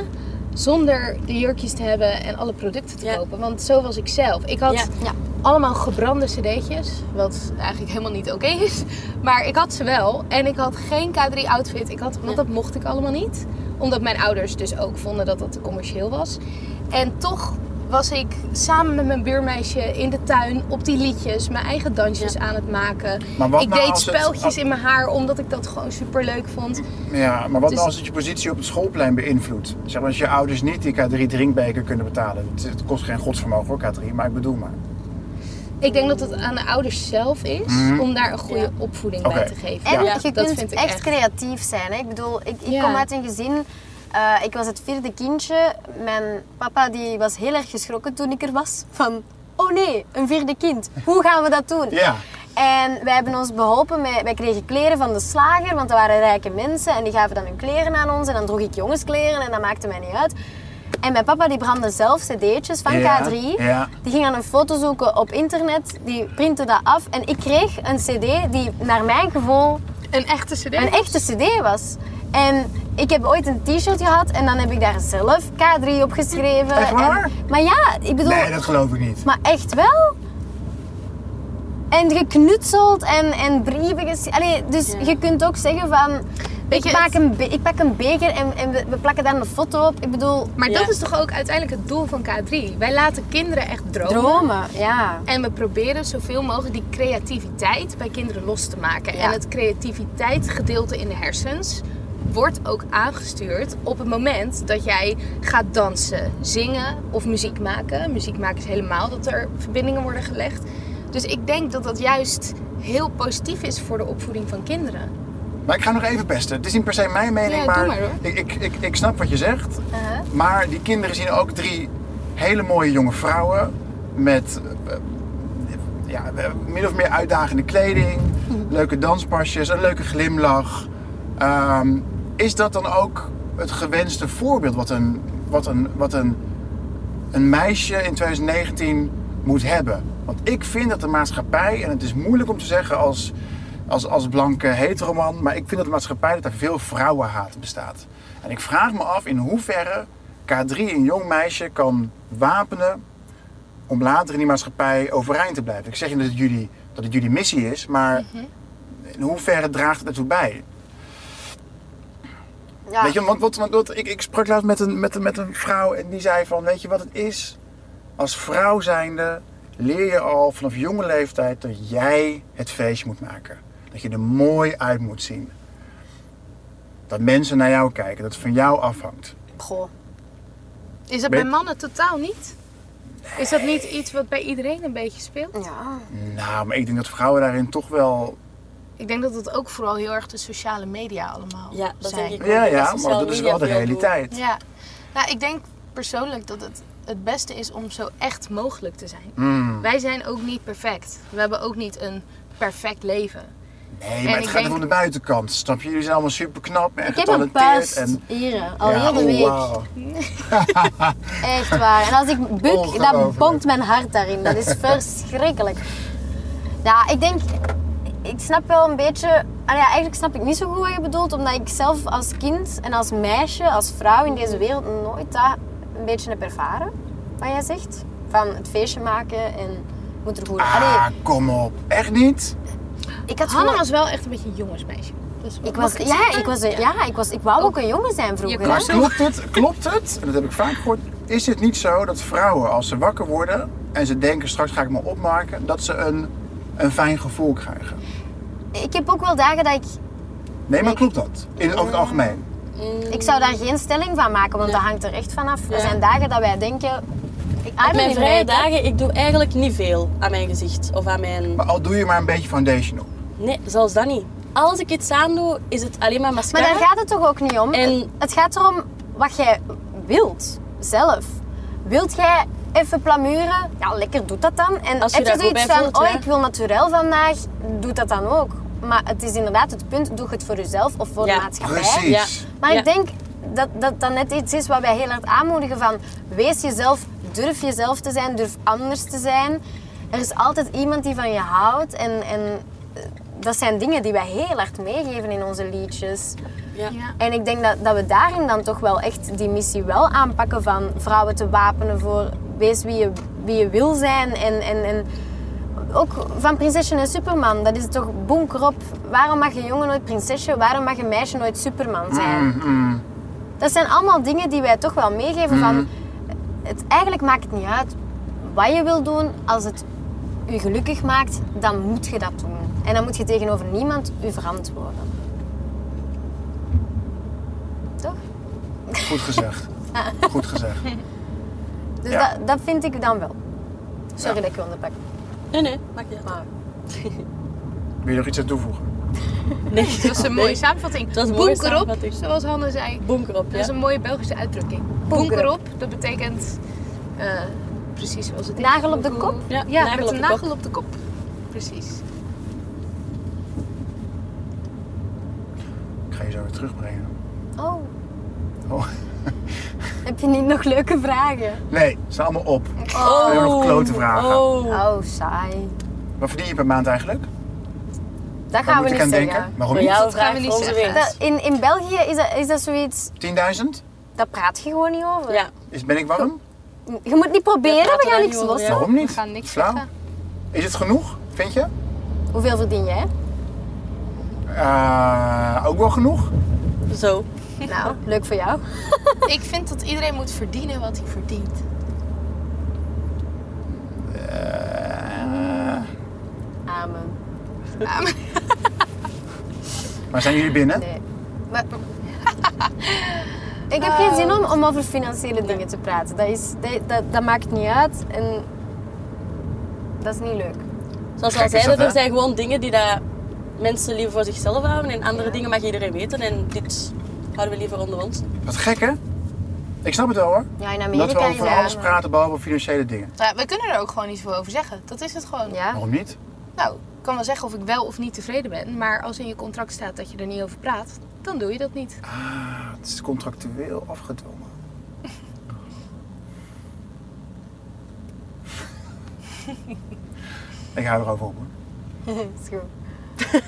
Speaker 3: zonder de jurkjes te hebben en alle producten te
Speaker 5: Ja.
Speaker 3: kopen. Want zo was ik zelf. Ik had
Speaker 5: Ja.
Speaker 4: Ja.
Speaker 3: allemaal gebrande cd'tjes, wat eigenlijk helemaal niet oké is. Maar ik had ze wel en ik had geen K3 outfit. Ik had, want dat mocht ik allemaal niet. Omdat mijn ouders dus ook vonden dat dat te commercieel was. En toch was ik samen met mijn buurmeisje in de tuin op die liedjes mijn eigen dansjes aan het maken.
Speaker 2: Maar wat
Speaker 3: ik
Speaker 2: nou
Speaker 3: deed
Speaker 2: als het-
Speaker 3: speltjes in mijn haar omdat ik dat gewoon super leuk vond.
Speaker 2: Ja, maar wat
Speaker 3: Dus-
Speaker 2: nou als het je positie op het schoolplein beïnvloedt? Zeg maar als je ouders niet die K3 drinkbeker kunnen betalen. Het, het kost geen godsvermogen hoor, K3, maar ik bedoel maar.
Speaker 3: Ik denk dat het aan de ouders zelf is om daar een goede
Speaker 5: Ja.
Speaker 3: opvoeding
Speaker 2: Mhm. Oké.
Speaker 3: bij te geven.
Speaker 4: En
Speaker 5: Ja,
Speaker 4: je
Speaker 3: dat
Speaker 4: kunt
Speaker 3: vind ik
Speaker 4: echt,
Speaker 3: echt.
Speaker 4: creatief zijn. Hè? Ik bedoel, ik, ik
Speaker 3: Ja.
Speaker 4: kom uit een gezin. eh, ik was het vierde kindje. Mijn papa die was heel erg geschrokken toen ik er was. Van, oh nee, een vierde kind. Hoe gaan we dat doen?
Speaker 2: Ja,
Speaker 4: En wij hebben ons beholpen met... Wij kregen kleren van de slager, want dat waren rijke mensen. En die gaven dan hun kleren aan ons. En dan droeg ik jongenskleren en dat maakte mij niet uit. En mijn papa die brandde zelf cd'tjes van
Speaker 2: Ja,
Speaker 4: K3.
Speaker 2: ja.
Speaker 4: Die ging aan een foto zoeken op internet. Die printte dat af. En ik kreeg een cd die naar mijn gevoel
Speaker 3: Een echte cd?
Speaker 4: een echte cd was. En ik heb ooit een t-shirt gehad en dan heb ik daar zelf K3 op geschreven.
Speaker 2: Echt waar?
Speaker 4: En- maar ja, ik bedoel...
Speaker 2: nee, dat geloof ik niet.
Speaker 4: Maar echt wel. En geknutseld en, en brieven geschreven. Allee, dus je kunt ook zeggen van...
Speaker 3: Weet je,
Speaker 4: ik, pak
Speaker 3: het-
Speaker 4: een be- ik pak een beker en, en we, we plakken daar een foto op. Ik bedoel,
Speaker 3: Maar
Speaker 5: Ja.
Speaker 3: dat is toch ook uiteindelijk het doel van K3? Wij laten kinderen echt dromen.
Speaker 4: dromen, ja.
Speaker 3: En we proberen zoveel mogelijk die creativiteit bij kinderen los te maken.
Speaker 4: Ja.
Speaker 3: En het creativiteitsgedeelte in de hersens wordt ook aangestuurd op het moment dat jij gaat dansen, zingen of muziek maken. Muziek maken is helemaal dat er verbindingen worden gelegd. Dus ik denk dat dat juist heel positief is voor de opvoeding van kinderen.
Speaker 2: Maar ik ga nog even pesten. Het is niet per se mijn mening,
Speaker 3: Ja, doe
Speaker 2: maar,
Speaker 3: maar, hoor. Uh-huh.
Speaker 2: ik, ik, ik, ik snap wat je zegt. Maar die kinderen zien ook drie hele mooie jonge vrouwen met eh, ja, eh, min of meer uitdagende
Speaker 3: [LAUGHS]
Speaker 2: kleding, leuke danspasjes, een leuke glimlach. Ehm, is dat dan ook het gewenste voorbeeld wat een, wat een, wat een, een meisje in 2019 moet hebben? Want ik vind dat de maatschappij, en het is moeilijk om te zeggen als, als, als blanke heteroman, maar ik vind dat de maatschappij dat er veel vrouwenhaat bestaat. En ik vraag me af in hoeverre K3 een jong meisje kan wapenen om later in die maatschappij overeind te blijven. Ik zeg niet dat het jullie, dat het jullie missie is, maar in hoeverre draagt het ertoe bij?
Speaker 4: ja.
Speaker 2: Weet je, want, want, want, want ik, ik sprak laatst met een, met, een, met een vrouw en die zei van, weet je wat het is? Als vrouw zijnde leer je al vanaf jonge leeftijd dat jij het feestje moet maken. Dat je er mooi uit moet zien. Dat mensen naar jou kijken, dat het van jou afhangt.
Speaker 4: Goh.
Speaker 3: Is dat
Speaker 2: Ben-
Speaker 3: bij mannen totaal niet? Is dat niet iets wat bij iedereen een beetje speelt?
Speaker 4: Ja.
Speaker 2: Nou, maar ik denk dat vrouwen daarin toch wel...
Speaker 3: Ik denk dat dat ook vooral heel erg de sociale media allemaal
Speaker 5: Ja, dat
Speaker 3: zijn.
Speaker 5: denk
Speaker 4: Oh,
Speaker 5: ik ook.
Speaker 2: Ja, ja,
Speaker 5: sociale
Speaker 2: maar dat is
Speaker 5: media
Speaker 2: wel de
Speaker 5: veel doen.
Speaker 2: realiteit.
Speaker 3: Ja, nou ik denk persoonlijk dat het het beste is om zo echt mogelijk te zijn.
Speaker 2: Mm.
Speaker 3: Wij zijn ook niet perfect. We hebben ook niet een perfect leven.
Speaker 2: Nee,
Speaker 3: En
Speaker 2: maar
Speaker 3: ik
Speaker 2: het gaat
Speaker 3: denk-
Speaker 2: om de buitenkant, snap je? Jullie zijn allemaal super knap en
Speaker 4: Ik heb een
Speaker 2: getalenteerd.
Speaker 4: puist
Speaker 2: En...
Speaker 4: hier, al
Speaker 2: Ja,
Speaker 4: heel de
Speaker 2: oh,
Speaker 4: week.
Speaker 2: wauw.
Speaker 4: Echt waar. En als
Speaker 2: [LAUGHS]
Speaker 4: ik buk, dan
Speaker 2: Ongelooflijk.
Speaker 4: bonkt mijn hart daarin. Dat
Speaker 2: [LAUGHS]
Speaker 4: is verschrikkelijk. Ja, ik denk... Ik snap wel een beetje... ah ja, eigenlijk snap ik niet zo goed wat je bedoelt. Omdat ik zelf als kind en als meisje, als vrouw in deze wereld... nooit dat een beetje heb ervaren. Wat jij zegt. Van het feestje maken en... Moet er goed...
Speaker 2: Ah,
Speaker 4: Allee,
Speaker 2: kom op. Echt niet?
Speaker 4: ik had
Speaker 3: Hanna
Speaker 4: gewoon...
Speaker 3: was wel echt een beetje een jongensmeisje. Dus
Speaker 4: Ik Oh.
Speaker 3: mag
Speaker 4: was,
Speaker 3: het
Speaker 4: ja,
Speaker 3: zeggen?
Speaker 4: ik was, ja, ik was... Ik wou ook een jongen zijn vroeger.
Speaker 3: kan
Speaker 4: hè.
Speaker 2: Maar
Speaker 3: Ja.
Speaker 2: klopt het, klopt het, en dat heb ik vaak gehoord, is het niet zo dat vrouwen als ze wakker worden en ze denken straks ga ik me opmaken, dat ze een, een fijn gevoel krijgen?
Speaker 4: Ik heb ook wel dagen dat ik...
Speaker 2: Nee, maar
Speaker 4: Nee.
Speaker 2: klopt dat? In, over het algemeen?
Speaker 4: Ik zou daar geen stelling van maken, want dat hangt er echt vanaf. Er
Speaker 5: Ja.
Speaker 4: zijn dagen dat wij denken... "Ah, Ik
Speaker 5: Op mijn
Speaker 4: niet
Speaker 5: vrije
Speaker 4: rijk, hè.
Speaker 5: dagen, ik doe eigenlijk niet veel aan mijn gezicht of aan mijn...
Speaker 2: Maar al doe je maar een beetje foundation op.
Speaker 5: Nee, zelfs dat niet. Als ik iets aandoe, is het alleen maar
Speaker 4: Maar
Speaker 5: mascara.
Speaker 4: daar gaat het toch ook niet om?
Speaker 5: En-
Speaker 4: Het gaat erom wat jij wilt, zelf. Wilt jij even plamuren? Ja, lekker, doe dat dan. En
Speaker 5: Als je
Speaker 4: heb je
Speaker 5: daar goed
Speaker 4: zoiets
Speaker 5: bij
Speaker 4: van,
Speaker 5: voelt,
Speaker 4: oh,
Speaker 5: ja.
Speaker 4: ik wil naturel vandaag, doe dat dan ook. Maar het is inderdaad het punt, doe het voor jezelf of voor
Speaker 5: Ja.
Speaker 4: de maatschappij.
Speaker 2: Precies.
Speaker 5: Ja.
Speaker 4: Maar
Speaker 5: Ja.
Speaker 4: ik denk dat, dat dat net iets is wat wij heel hard aanmoedigen van wees jezelf, durf jezelf te zijn, durf anders te zijn. Er is altijd iemand die van je houdt en, en eh, dat zijn dingen die wij heel hard meegeven in onze liedjes.
Speaker 5: Ja.
Speaker 3: Ja.
Speaker 4: En ik denk dat, dat we daarin dan toch wel echt die missie wel aanpakken van vrouwen te wapenen voor wees wie je, wie je wil zijn. En, en, en ook van Prinsesje en Superman, dat is toch bonkerop. Waarom mag een jongen nooit prinsesje, waarom mag een meisje nooit Superman zijn?
Speaker 2: Mm, mm.
Speaker 4: Dat zijn allemaal dingen die wij toch wel meegeven van... Het, eigenlijk maakt het niet uit wat je wil doen. Als het je gelukkig maakt, dan moet je dat doen. En dan moet je tegenover niemand je verantwoorden. Toch?
Speaker 2: Goed gezegd. Goed gezegd.
Speaker 4: Dus
Speaker 2: Ja.
Speaker 4: dat, dat vind ik dan wel. Sorry dat ik je onderbrak.
Speaker 5: Nee, nee, maakt niet uit.
Speaker 4: Maar
Speaker 2: Wil je nog iets aan toevoegen?
Speaker 5: Nee.
Speaker 3: [LAUGHS] Dat is een mooie
Speaker 5: Nee.
Speaker 3: samenvatting.
Speaker 5: Dat is een mooie
Speaker 3: Boek erop,
Speaker 5: samenvatting.
Speaker 3: zoals Hanna zei.
Speaker 5: Bonker op,
Speaker 3: Dat is
Speaker 5: ja.
Speaker 3: een mooie Belgische uitdrukking. Boek erop, dat betekent eh, precies zoals het is.
Speaker 4: Nagel op de kop?
Speaker 5: Ja,
Speaker 3: Ja,
Speaker 5: nagel
Speaker 3: met
Speaker 5: op
Speaker 3: een
Speaker 5: de kop.
Speaker 3: nagel op de kop. Precies.
Speaker 2: Ik ga je zo weer terugbrengen.
Speaker 4: Oh,
Speaker 2: Oh.
Speaker 4: heb je niet nog leuke vragen?
Speaker 2: Nee, ze zijn allemaal op.
Speaker 5: Oh.
Speaker 2: Alleen maar nog klote vragen.
Speaker 5: Oh.
Speaker 4: Oh, saai.
Speaker 2: Wat verdien je per maand eigenlijk?
Speaker 4: Dat
Speaker 2: Waar
Speaker 4: gaan we
Speaker 2: moet ik
Speaker 4: niet
Speaker 2: aan
Speaker 4: zeggen.
Speaker 2: denken? Waarom
Speaker 5: Voor
Speaker 2: niet?
Speaker 5: jou
Speaker 3: Dat gaan
Speaker 5: vraag
Speaker 3: we
Speaker 5: voor
Speaker 3: niet
Speaker 5: onze
Speaker 3: zeggen.
Speaker 4: Dat-
Speaker 5: winst.
Speaker 4: in, in België is dat, is dat zoiets...
Speaker 2: 10.000?
Speaker 4: Daar praat je gewoon niet over.
Speaker 5: Ja.
Speaker 2: Is, ben ik warm?
Speaker 4: Je moet niet
Speaker 5: Ja,
Speaker 4: proberen,
Speaker 5: praten
Speaker 4: we gaan
Speaker 5: wij
Speaker 4: niks
Speaker 5: niet over,
Speaker 4: lossen.
Speaker 5: ja.
Speaker 2: Waarom niet?
Speaker 3: We gaan niks
Speaker 2: Flauw.
Speaker 3: zeggen.
Speaker 2: Is het genoeg, vind je?
Speaker 4: Hoeveel verdien jij?
Speaker 2: Eh, ook wel genoeg?
Speaker 5: Zo.
Speaker 4: Nou, leuk voor jou.
Speaker 3: Ik vind dat iedereen moet verdienen wat hij verdient.
Speaker 2: Eh,
Speaker 4: Amen.
Speaker 2: maar zijn jullie binnen?
Speaker 4: Nee. Maar... ik heb geen zin om, om over financiële dingen te praten. Dat, is, dat, dat, dat maakt niet uit en dat is niet leuk.
Speaker 5: Zoals we
Speaker 2: Gek is
Speaker 5: al
Speaker 2: dat,
Speaker 5: zeiden,
Speaker 2: hè?
Speaker 5: er zijn gewoon dingen die dat mensen liever voor zichzelf houden. En andere dingen mag iedereen weten. En dit houden we liever onder ons.
Speaker 2: Wat gek, hè? Ik snap het wel, hoor.
Speaker 4: Ja, in
Speaker 2: Dat we
Speaker 4: Amerika is
Speaker 2: over
Speaker 4: dat
Speaker 2: alles
Speaker 4: allemaal-
Speaker 2: praten, behalve financiële dingen.
Speaker 3: Nou, we kunnen er ook gewoon niet veel over zeggen. Dat is het gewoon.
Speaker 4: Ja.
Speaker 2: Waarom niet?
Speaker 3: Nou, ik kan wel zeggen of ik wel of niet tevreden ben. Maar als in je contract staat dat je er niet over praat, dan doe je dat niet.
Speaker 2: Ah, het is contractueel afgedwongen. [LAUGHS] ik hou erover op, hoor.
Speaker 4: Is goed. [LAUGHS]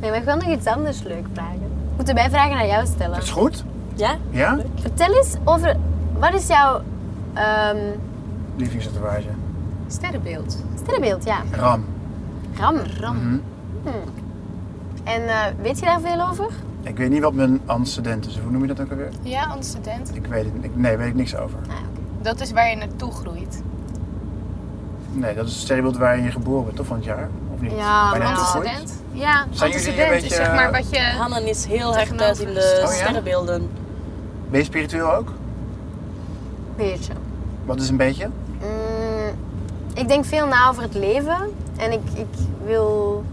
Speaker 4: nee, maar ik wil nog iets anders leuk vragen. Moeten wij vragen aan jou stellen?
Speaker 2: Dat is goed.
Speaker 5: Ja?
Speaker 2: Ja?
Speaker 4: Vertel eens over wat is jouw ehm
Speaker 2: Lievelingssituage.
Speaker 3: Sterrenbeeld.
Speaker 4: sterrenbeeld? Ja,
Speaker 2: Ram.
Speaker 4: ram.
Speaker 3: Ram.
Speaker 2: Mhm.
Speaker 4: En eh, weet je daar veel over?
Speaker 2: Ik weet niet wat mijn antecedent is. Hoe noem je dat ook alweer?
Speaker 3: Ja, antecedent.
Speaker 2: Ik weet het. Ik, nee, weet ik niks over.
Speaker 4: Ah,
Speaker 3: Dat is waar je naartoe groeit.
Speaker 2: Nee, dat is het sterrenbeeld waar je geboren bent, toch? Van het jaar? Of niet?
Speaker 4: Ja,
Speaker 2: Bijna
Speaker 4: maar
Speaker 2: opgegroeid?
Speaker 3: Antecedent? Ja,
Speaker 2: Zijn jullie een
Speaker 3: antecedent is
Speaker 2: beetje, eh,
Speaker 3: zeg maar wat je...
Speaker 5: Hannen is heel erg thuis in de
Speaker 3: Tegenovergesteld.
Speaker 2: Oh, ja?
Speaker 5: sterrenbeelden.
Speaker 2: Ben je spiritueel ook?
Speaker 4: Beetje.
Speaker 2: Wat is een beetje?
Speaker 4: Mm, ik denk veel na over het leven en ik, ik wil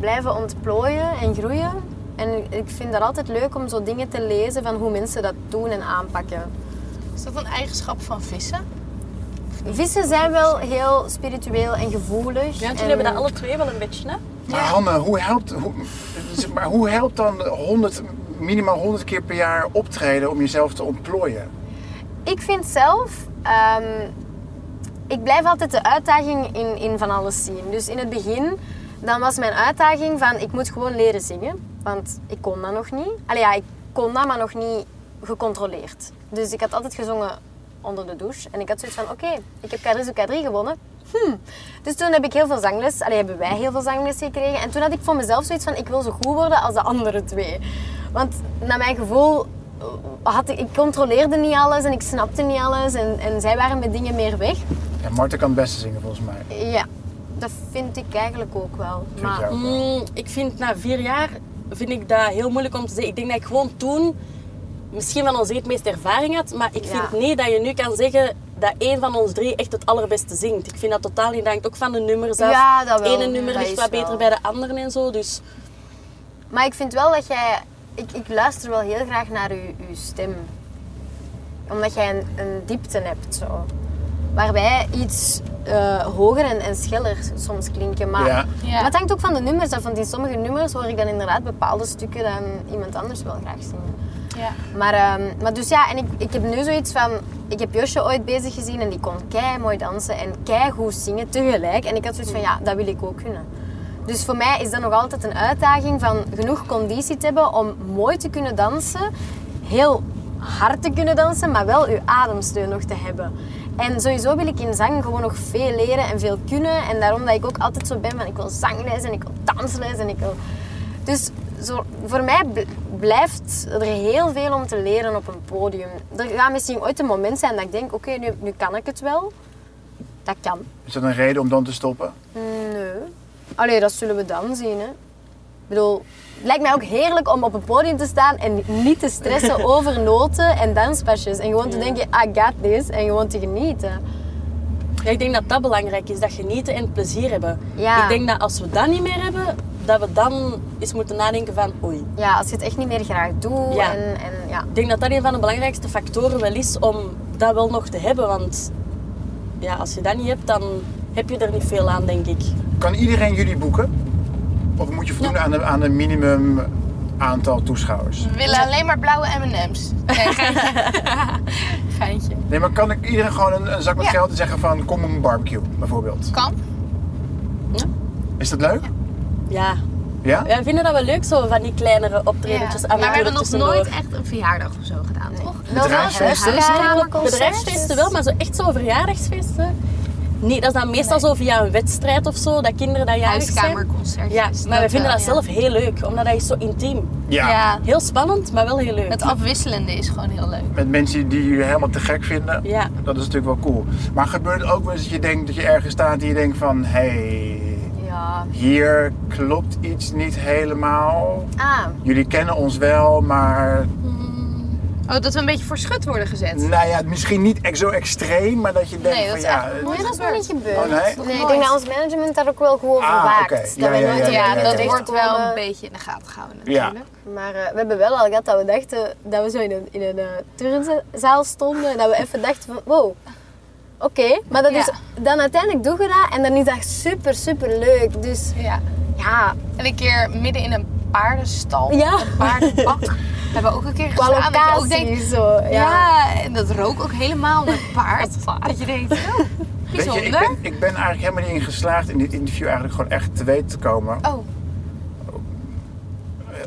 Speaker 4: blijven ontplooien en groeien. En ik vind dat altijd leuk om zo dingen te lezen van hoe mensen dat doen en aanpakken.
Speaker 3: Is dat een eigenschap van vissen?
Speaker 4: Vissen zijn wel heel spiritueel en gevoelig.
Speaker 5: Ja, want
Speaker 4: en-
Speaker 5: jullie hebben dat alle twee wel een beetje, hè?
Speaker 2: Maar Hanne, hoe helpt, hoe, zeg maar hoe helpt dan 100, minimaal 100 keer per jaar optreden om jezelf te ontplooien?
Speaker 4: Ik vind zelf, ehm, ik blijf altijd de uitdaging in, in van alles zien. Dus in het begin, dan was mijn uitdaging van ik moet gewoon leren zingen. Want ik kon dat nog niet. Allee ja, ik kon dat, maar nog niet gecontroleerd. Dus ik had altijd gezongen onder de douche. En ik had zoiets van, oké, ik heb K3 zoek K3 gewonnen. Hm. Dus toen heb ik heel veel zangles, allee, hebben wij heel veel zangles gekregen. En toen had ik voor mezelf zoiets van, ik wil zo goed worden als de andere twee. Want naar mijn gevoel eh, had ik, ik controleerde niet alles en ik snapte niet alles en, en zij waren met dingen meer weg.
Speaker 2: Ja, Marten kan het beste zingen volgens mij. Vind
Speaker 4: Ja, dat vind ik eigenlijk ook wel.
Speaker 2: jij
Speaker 4: Maar
Speaker 2: ook wel.
Speaker 5: Mm, ik vind na vier jaar vind ik dat heel moeilijk om te zeggen. Ik denk dat ik gewoon toen misschien van ons drie het meeste ervaring had. Maar ik
Speaker 4: Ja.
Speaker 5: vind niet dat je nu kan zeggen dat één van ons drie echt het allerbeste zingt. Ik vind dat totaal niet. Dat hangt ook van de nummers af.
Speaker 4: Ja, dat wel.
Speaker 5: Ene nummer
Speaker 4: Dat
Speaker 5: ligt
Speaker 4: is
Speaker 5: wat
Speaker 4: wel.
Speaker 5: beter bij de anderen en zo. Dus
Speaker 4: Maar ik vind wel dat jij. Ik, ik luister wel heel graag naar uw, uw stem. Omdat jij een, een diepte hebt zo. Waarbij iets eh, hoger en, en scheller soms klinken. Maar,
Speaker 2: Ja.
Speaker 3: Ja.
Speaker 4: maar het hangt ook van de nummers af. Want in sommige nummers hoor ik dan inderdaad bepaalde stukken dan iemand anders wel graag zingen.
Speaker 3: Ja.
Speaker 4: Maar, ehm, maar dus ja, en ik, ik heb nu zoiets van... Ik heb Josje ooit bezig gezien en die kon kei mooi dansen en kei goed zingen tegelijk. En ik had zoiets van, ja, dat wil ik ook kunnen. Dus voor mij is dat nog altijd een uitdaging van genoeg conditie te hebben om mooi te kunnen dansen. Heel hard te kunnen dansen, maar wel uw ademsteun nog te hebben. En sowieso wil ik in zang gewoon nog veel leren en veel kunnen. En daarom dat ik ook altijd zo ben van ik wil zangles en ik wil dansles en ik wil... Dus zo, voor mij bl- blijft er heel veel om te leren op een podium. Er gaat misschien ooit een moment zijn dat ik denk, oké, nu, nu kan ik het wel. Dat kan.
Speaker 2: Is dat een reden om dan te stoppen?
Speaker 4: Nee. Allee, dat zullen we dan zien, hè. Ik bedoel, het lijkt mij ook heerlijk om op een podium te staan en niet te
Speaker 2: [LAUGHS]
Speaker 4: stressen over noten en danspasjes. En gewoon te denken, I got this, en gewoon te genieten.
Speaker 5: ja, ik denk dat dat belangrijk is. Dat genieten en plezier hebben.
Speaker 4: Ja.
Speaker 5: Ik denk dat als we dat niet meer hebben, dat we dan eens moeten nadenken van oei.
Speaker 4: Ja, als je het echt niet meer graag doet
Speaker 5: Ja.
Speaker 4: en, en ja.
Speaker 5: Ik denk dat dat een van de belangrijkste factoren wel is om dat wel nog te hebben. Want ja, als je dat niet hebt, dan heb je er niet veel aan, denk ik.
Speaker 2: Kan iedereen jullie boeken? Of moet je voldoen aan, de, aan een minimum aantal toeschouwers?
Speaker 3: We willen alleen maar blauwe M&M's. Nee, geintje. geintje.
Speaker 2: Nee, maar kan ik iedereen gewoon een, een zak met
Speaker 3: Ja.
Speaker 2: geld en zeggen van kom op een barbecue bijvoorbeeld?
Speaker 3: Kan.
Speaker 2: Is dat leuk?
Speaker 5: Ja.
Speaker 2: Ja?
Speaker 5: Wij vinden dat wel leuk, zo van die kleinere optredentjes.
Speaker 3: Ja. Maar we hebben nog
Speaker 5: tussendoor.
Speaker 3: nooit echt een verjaardag of zo gedaan, toch?
Speaker 4: Wel wel
Speaker 2: Bedrijfsfeesten?
Speaker 4: huiskamerconcertjes.
Speaker 5: Bedrijfsfeesten wel, maar zo echt zo'n verjaardagsfeesten. Nee, dat is dan meestal
Speaker 3: Nee.
Speaker 5: zo via een wedstrijd of zo, dat kinderen dat jarig zijn.
Speaker 3: Huiskamerconcertjes.
Speaker 5: Ja, maar we vinden
Speaker 3: wel,
Speaker 5: dat zelf heel leuk, omdat dat is zo intiem.
Speaker 3: Ja.
Speaker 2: Ja.
Speaker 3: Ja,
Speaker 5: Heel spannend, maar wel heel leuk.
Speaker 3: het afwisselende is gewoon heel leuk.
Speaker 2: Met mensen die je helemaal te gek vinden.
Speaker 5: Ja.
Speaker 2: Dat is natuurlijk wel cool. Maar gebeurt het ook wel eens dat je denkt dat je ergens staat en je denkt van hé, hey,
Speaker 3: Ja.
Speaker 2: hier klopt iets niet helemaal.
Speaker 4: Ah,
Speaker 2: Jullie kennen ons wel, maar
Speaker 3: Oh, dat we een beetje voor schut worden gezet.
Speaker 2: nou ja, misschien niet echt zo extreem, maar dat je denkt
Speaker 3: Nee, dat
Speaker 2: van
Speaker 3: is
Speaker 2: ja,
Speaker 3: eigenlijk
Speaker 2: het-
Speaker 4: nee, dat is nog niet gebeurd.
Speaker 2: Oh, nee?
Speaker 4: ik denk dat ons management daar ook wel gewoon
Speaker 2: Ah,
Speaker 4: voor waakt.
Speaker 2: oké.
Speaker 4: Dat
Speaker 2: Ja,
Speaker 4: wij
Speaker 2: ja,
Speaker 4: nooit
Speaker 2: ja,
Speaker 4: in
Speaker 2: ja,
Speaker 3: nou- Ja,
Speaker 4: de
Speaker 2: ja,
Speaker 3: dat
Speaker 4: licht
Speaker 2: ja.
Speaker 3: wordt wel
Speaker 4: komen.
Speaker 3: een beetje in de gaten gehouden
Speaker 2: Ja.
Speaker 3: natuurlijk.
Speaker 4: Maar eh, we hebben wel al gehad dat we dachten dat we zo in een, in een eh, turnzaal stonden en dat we even dachten van wow, oké. Maar dat
Speaker 3: Ja.
Speaker 4: is, dan uiteindelijk doen we dat en dan is dat super, super leuk. Dus
Speaker 3: Ja.
Speaker 4: ja,
Speaker 3: En een keer midden in een paardenstal,
Speaker 4: Ja.
Speaker 3: een paardenbak, [LAUGHS] hebben we ook een keer
Speaker 4: qua
Speaker 3: gestaan. Dat je ook
Speaker 4: locatie
Speaker 3: denkt,
Speaker 4: zo. Ja.
Speaker 3: ja. en dat rook ook helemaal naar paard. [LAUGHS] dat je denkt, oh,
Speaker 2: Weet je, ik
Speaker 3: bijzonder.
Speaker 2: ben, ik ben eigenlijk helemaal niet in geslaagd in dit interview eigenlijk gewoon echt te weten te komen.
Speaker 3: Oh,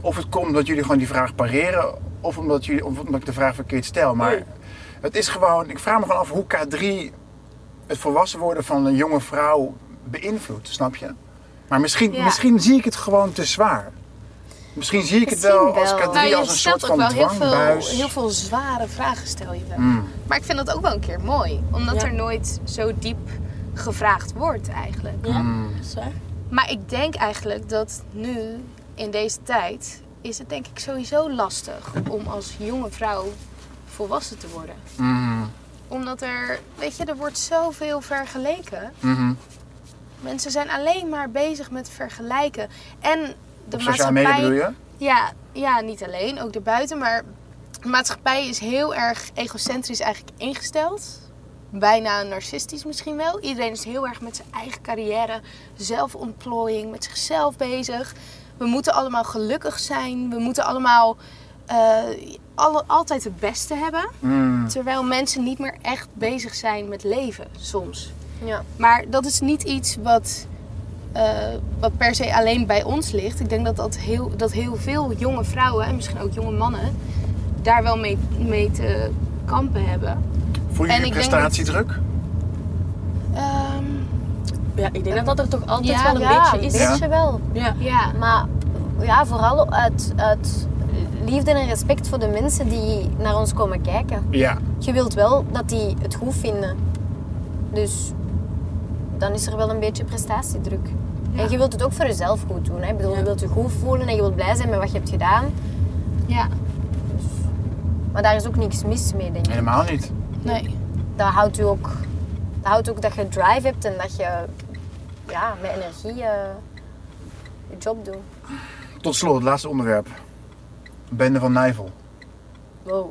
Speaker 2: Of het komt omdat jullie gewoon die vraag pareren, of omdat, jullie, of omdat ik de vraag verkeerd stel. Maar
Speaker 5: Nee.
Speaker 2: het is gewoon, ik vraag me gewoon af hoe K3 het volwassen worden van een jonge vrouw beïnvloedt, snap je? Maar misschien,
Speaker 3: Ja.
Speaker 2: misschien zie ik het gewoon te zwaar. Misschien zie ik het
Speaker 4: Misschien
Speaker 2: wel, als
Speaker 4: wel.
Speaker 2: K3
Speaker 3: nou je
Speaker 2: als een soort
Speaker 3: stelt ook
Speaker 2: van
Speaker 3: wel heel veel,
Speaker 2: dwangbuis.
Speaker 3: heel veel zware vragen stel je wel.
Speaker 2: Mm.
Speaker 3: Maar ik vind dat ook wel een keer mooi, omdat
Speaker 5: Ja.
Speaker 3: er nooit zo diep gevraagd wordt eigenlijk.
Speaker 5: Ja, dat is waar.
Speaker 3: Maar ik denk eigenlijk dat nu, in deze tijd, is het denk ik sowieso lastig om als jonge vrouw volwassen te worden.
Speaker 2: Mm.
Speaker 3: Omdat er, weet je, er wordt zoveel vergeleken.
Speaker 2: Mhm.
Speaker 3: Mensen zijn alleen maar bezig met vergelijken. En de
Speaker 2: Op sociale media
Speaker 3: maatschappij.
Speaker 2: bedoel je?
Speaker 3: Ja, ja, niet alleen, ook daarbuiten. Maar de maatschappij is heel erg egocentrisch eigenlijk ingesteld. Bijna narcistisch misschien wel. Iedereen is heel erg met zijn eigen carrière, zelfontplooiing, met zichzelf bezig. We moeten allemaal gelukkig zijn. We moeten allemaal eh, alle, altijd het beste hebben.
Speaker 2: Mm.
Speaker 3: Terwijl mensen niet meer echt bezig zijn met leven soms.
Speaker 4: Ja.
Speaker 3: Maar dat is niet iets wat, eh, wat per se alleen bij ons ligt. Ik denk dat, dat, heel, dat heel veel jonge vrouwen en misschien ook jonge mannen daar wel mee, mee te kampen hebben.
Speaker 2: Voel je
Speaker 3: En
Speaker 2: je
Speaker 3: ik denk
Speaker 2: prestatiedruk?
Speaker 3: Ehm,
Speaker 5: Ja, ik denk dat dat er toch altijd
Speaker 3: Ja,
Speaker 5: wel een
Speaker 4: Ja,
Speaker 5: beetje is.
Speaker 2: Ja.
Speaker 4: wel.
Speaker 5: Ja.
Speaker 3: ja.
Speaker 4: Maar ja, vooral uit, uit liefde en respect voor de mensen die naar ons komen kijken.
Speaker 2: Ja.
Speaker 4: je wilt wel dat die het goed vinden. Dus dan is er wel een beetje prestatiedruk. En je wilt het ook voor jezelf goed doen. Hè? Ik bedoel, je wilt je goed voelen en je wilt blij zijn met wat je hebt gedaan.
Speaker 3: ja.
Speaker 4: Maar daar is ook niks mis mee, denk ik.
Speaker 2: Helemaal niet.
Speaker 3: Nee.
Speaker 4: Dat houdt u ook dat, houdt ook dat je drive hebt en dat je ja, met energie eh, je job doet.
Speaker 2: Tot slot, het laatste onderwerp. Bende van Nijvel.
Speaker 4: Wow.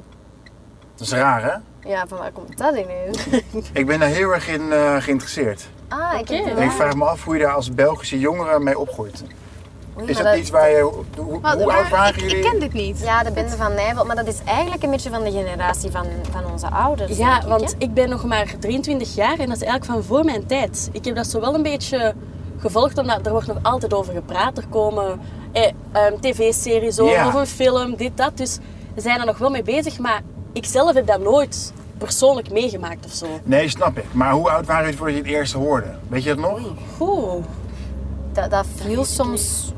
Speaker 2: Dat is raar, hè?
Speaker 4: Ja, van waar komt dat
Speaker 5: [LAUGHS]
Speaker 4: ineens?
Speaker 2: Ik ben daar heel erg in eh, geïnteresseerd.
Speaker 4: Ah, ik heb
Speaker 5: Oké.
Speaker 4: het
Speaker 2: En ik
Speaker 4: wel.
Speaker 2: vraag me af hoe je daar als Belgische jongere mee opgroeit.
Speaker 4: Oei,
Speaker 2: Is
Speaker 4: maar
Speaker 2: dat iets waar je... Hoe, hoe
Speaker 3: Maar-
Speaker 2: oud
Speaker 3: maar
Speaker 2: waren
Speaker 3: ik,
Speaker 2: jullie?
Speaker 3: ik ken dit niet.
Speaker 4: Ja, de bende van Nijvel. Maar dat is eigenlijk een beetje van de generatie van, van onze ouders. denk
Speaker 5: Ja,
Speaker 4: ik,
Speaker 5: want
Speaker 4: hè?
Speaker 5: ik ben nog maar 23 jaar en dat is eigenlijk van voor mijn tijd. Ik heb dat zo wel een beetje gevolgd, omdat er wordt nog altijd over gepraat. Er komen eh, ehm, tv-series over,
Speaker 2: Ja.
Speaker 5: of een film, dit, dat. Dus we zijn er nog wel mee bezig, maar ik zelf heb dat nooit persoonlijk meegemaakt of zo.
Speaker 2: Nee, snap ik. Maar hoe oud waren jullie voordat je het eerste hoorde? Weet je dat nog?
Speaker 5: Oeh.
Speaker 4: Dat, dat viel soms.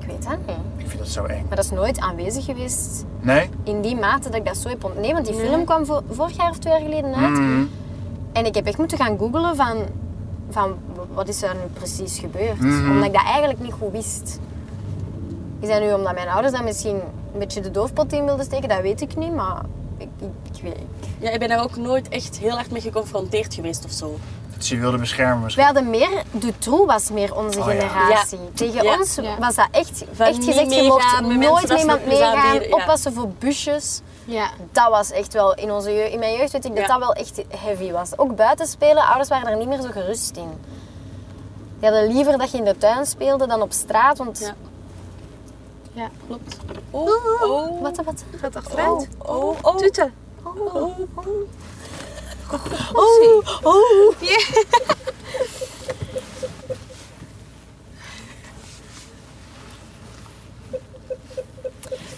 Speaker 4: Ik weet dat niet.
Speaker 2: Ik vind dat zo eng.
Speaker 4: Maar dat is nooit aanwezig geweest
Speaker 2: Nee?
Speaker 4: in die mate dat ik dat zo heb ontdekt. Nee, want die film kwam vo- vorig jaar of twee jaar geleden uit.
Speaker 2: Mhm.
Speaker 4: En ik heb echt moeten gaan googlen van, van w- wat is er nu precies gebeurd.
Speaker 2: Mhm.
Speaker 4: Omdat ik dat eigenlijk niet goed wist. Is dat nu omdat mijn ouders dat misschien een beetje de doofpot in wilden steken? Dat weet ik niet, maar ik, ik, ik weet
Speaker 5: Ja, ik ben daar ook nooit echt heel hard mee geconfronteerd geweest of zo.
Speaker 2: Dat ze Dus je wilde beschermen misschien.
Speaker 4: Wij hadden meer, de troe was meer onze
Speaker 2: Oh ja.
Speaker 4: generatie.
Speaker 5: Ja.
Speaker 4: Tegen
Speaker 5: Ja.
Speaker 4: ons
Speaker 3: Ja.
Speaker 4: was dat echt,
Speaker 5: Van
Speaker 4: echt
Speaker 5: niet
Speaker 4: gezegd, je
Speaker 5: meegaan
Speaker 4: mocht
Speaker 5: met mensen,
Speaker 4: nooit
Speaker 5: dat is
Speaker 4: met iemand
Speaker 5: nog eens aan
Speaker 4: meegaan,
Speaker 5: hier, ja.
Speaker 4: oppassen voor busjes.
Speaker 3: Ja.
Speaker 4: Dat was echt wel, in, onze jeugd, in mijn jeugd weet ik dat
Speaker 5: Ja.
Speaker 4: dat wel echt heavy was. Ook buiten spelen, ouders waren er niet meer zo gerust in. Die hadden liever dat je in de tuin speelde dan op straat, want...
Speaker 5: Ja.
Speaker 3: Ja.
Speaker 5: Klopt. Oh, oh,
Speaker 4: Wat, wat?
Speaker 3: Gaat achteruit.
Speaker 5: oh, oh.
Speaker 3: Tuten.
Speaker 5: Oh, oh,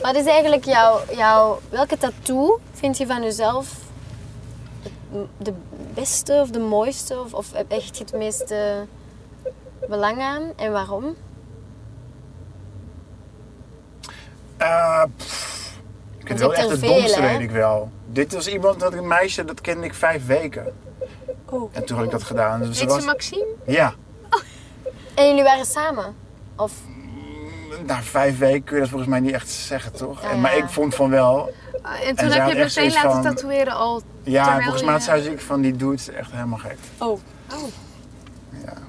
Speaker 4: Wat is eigenlijk jouw... jouw welke tattoo vind je van jezelf het de beste of de mooiste of, of heb echt het meeste belang aan en waarom?
Speaker 2: Eh, pff, ik
Speaker 4: Want
Speaker 2: weet
Speaker 4: je
Speaker 2: wel
Speaker 4: hebt
Speaker 2: echt
Speaker 4: er
Speaker 2: het
Speaker 4: veel,
Speaker 2: domste,
Speaker 4: hè?
Speaker 2: weet ik wel. Dit was iemand, dat een meisje, dat kende ik vijf weken.
Speaker 5: Oh.
Speaker 2: En toen had ik dat gedaan. Dus ze
Speaker 3: Dit is
Speaker 2: was,
Speaker 3: Maxime?
Speaker 2: ja,
Speaker 4: En jullie waren samen? Of
Speaker 2: na vijf weken kun je dat volgens mij niet echt zeggen, toch?
Speaker 4: Ja,
Speaker 2: En, maar
Speaker 4: ja.
Speaker 2: ik vond van wel.
Speaker 3: En
Speaker 2: zij
Speaker 3: toen
Speaker 2: had
Speaker 3: heb
Speaker 2: echt
Speaker 3: je meteen
Speaker 2: zoiets van-
Speaker 3: laten tatoeëren al.
Speaker 2: Ja,
Speaker 3: Terwijl
Speaker 2: volgens mij
Speaker 3: je-
Speaker 2: zei ze ik van die dude is echt helemaal gek.
Speaker 5: Oh.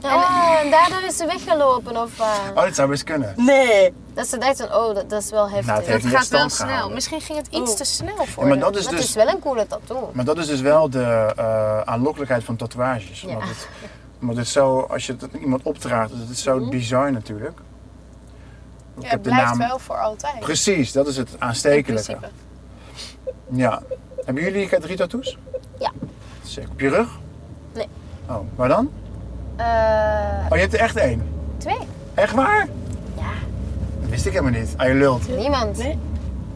Speaker 4: en, ah, en daardoor is ze weggelopen of eh,
Speaker 2: Oh, dat zou best kunnen.
Speaker 5: Nee.
Speaker 4: dat ze dacht van, oh, dat, dat is wel heftig.
Speaker 2: Nou, het
Speaker 3: Dat
Speaker 2: heeft- niet
Speaker 3: gaat
Speaker 2: in stand
Speaker 3: wel snel.
Speaker 2: gehouden.
Speaker 3: Misschien ging het iets
Speaker 5: Oh.
Speaker 3: te snel voor
Speaker 2: Ja, maar
Speaker 3: je.
Speaker 2: dat is
Speaker 4: Maar het is
Speaker 2: dus,
Speaker 4: wel een coole tattoo.
Speaker 2: maar dat is dus wel de eh, aanlokkelijkheid van tatoeages.
Speaker 4: Ja.
Speaker 2: Omdat, het, omdat het zo, als je het aan iemand opdraagt, is het zo bizar natuurlijk. Ik
Speaker 3: Mhm. Ja, het blijft wel voor altijd.
Speaker 2: Precies, dat is het
Speaker 3: in
Speaker 2: aanstekelijke.
Speaker 3: principe.
Speaker 2: Ja. Hebben jullie drie tattoos?
Speaker 4: Ja.
Speaker 2: Sick. Op je rug?
Speaker 4: Nee.
Speaker 2: Oh, waar dan?
Speaker 4: Eh,
Speaker 2: Oh, je hebt er echt één.
Speaker 4: twee?
Speaker 2: Echt waar?
Speaker 4: Ja,
Speaker 2: Dat wist ik helemaal niet. Ah, je lult.
Speaker 4: niemand.
Speaker 5: Nee.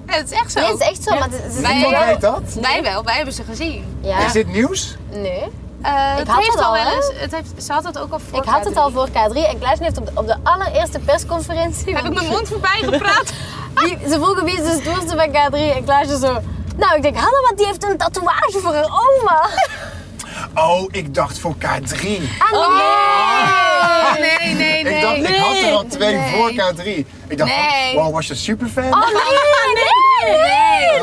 Speaker 3: Ja, het is echt zo.
Speaker 4: Nee, het is echt zo, maar het, het is
Speaker 3: Wij-
Speaker 4: niet
Speaker 2: Niemand
Speaker 4: wel-
Speaker 3: Nee.
Speaker 2: weet dat?
Speaker 3: Wij wel, wij hebben ze gezien.
Speaker 4: Ja,
Speaker 2: Is dit nieuws?
Speaker 4: nee.
Speaker 3: Eh, het
Speaker 4: had
Speaker 3: heeft
Speaker 4: het
Speaker 3: al
Speaker 4: al,
Speaker 3: wel
Speaker 4: hè?
Speaker 3: eens. Het heeft, ze had het ook al voor.
Speaker 4: Ik had het
Speaker 3: K3.
Speaker 4: al voor K3 en Klaasje heeft op de, op de allereerste persconferentie...
Speaker 3: Heb ik
Speaker 4: [LAUGHS]
Speaker 3: mijn mond voorbij gepraat?
Speaker 4: Wie- ze vroegen wie is de stoerste van K3 en Klaasje zo... Nou, ik denk, Hanna, want die heeft een tatoeage voor haar oma.
Speaker 2: Oh, ik dacht voor K3.
Speaker 4: Ah, nee!
Speaker 3: [LAUGHS] Oh, nee, nee,
Speaker 2: ik dacht, ik had er al twee
Speaker 3: nee.
Speaker 2: voor K3. Ik dacht, oh,
Speaker 3: Nee.
Speaker 2: wow, was je superfan?
Speaker 4: Oh, nee, nee, nee,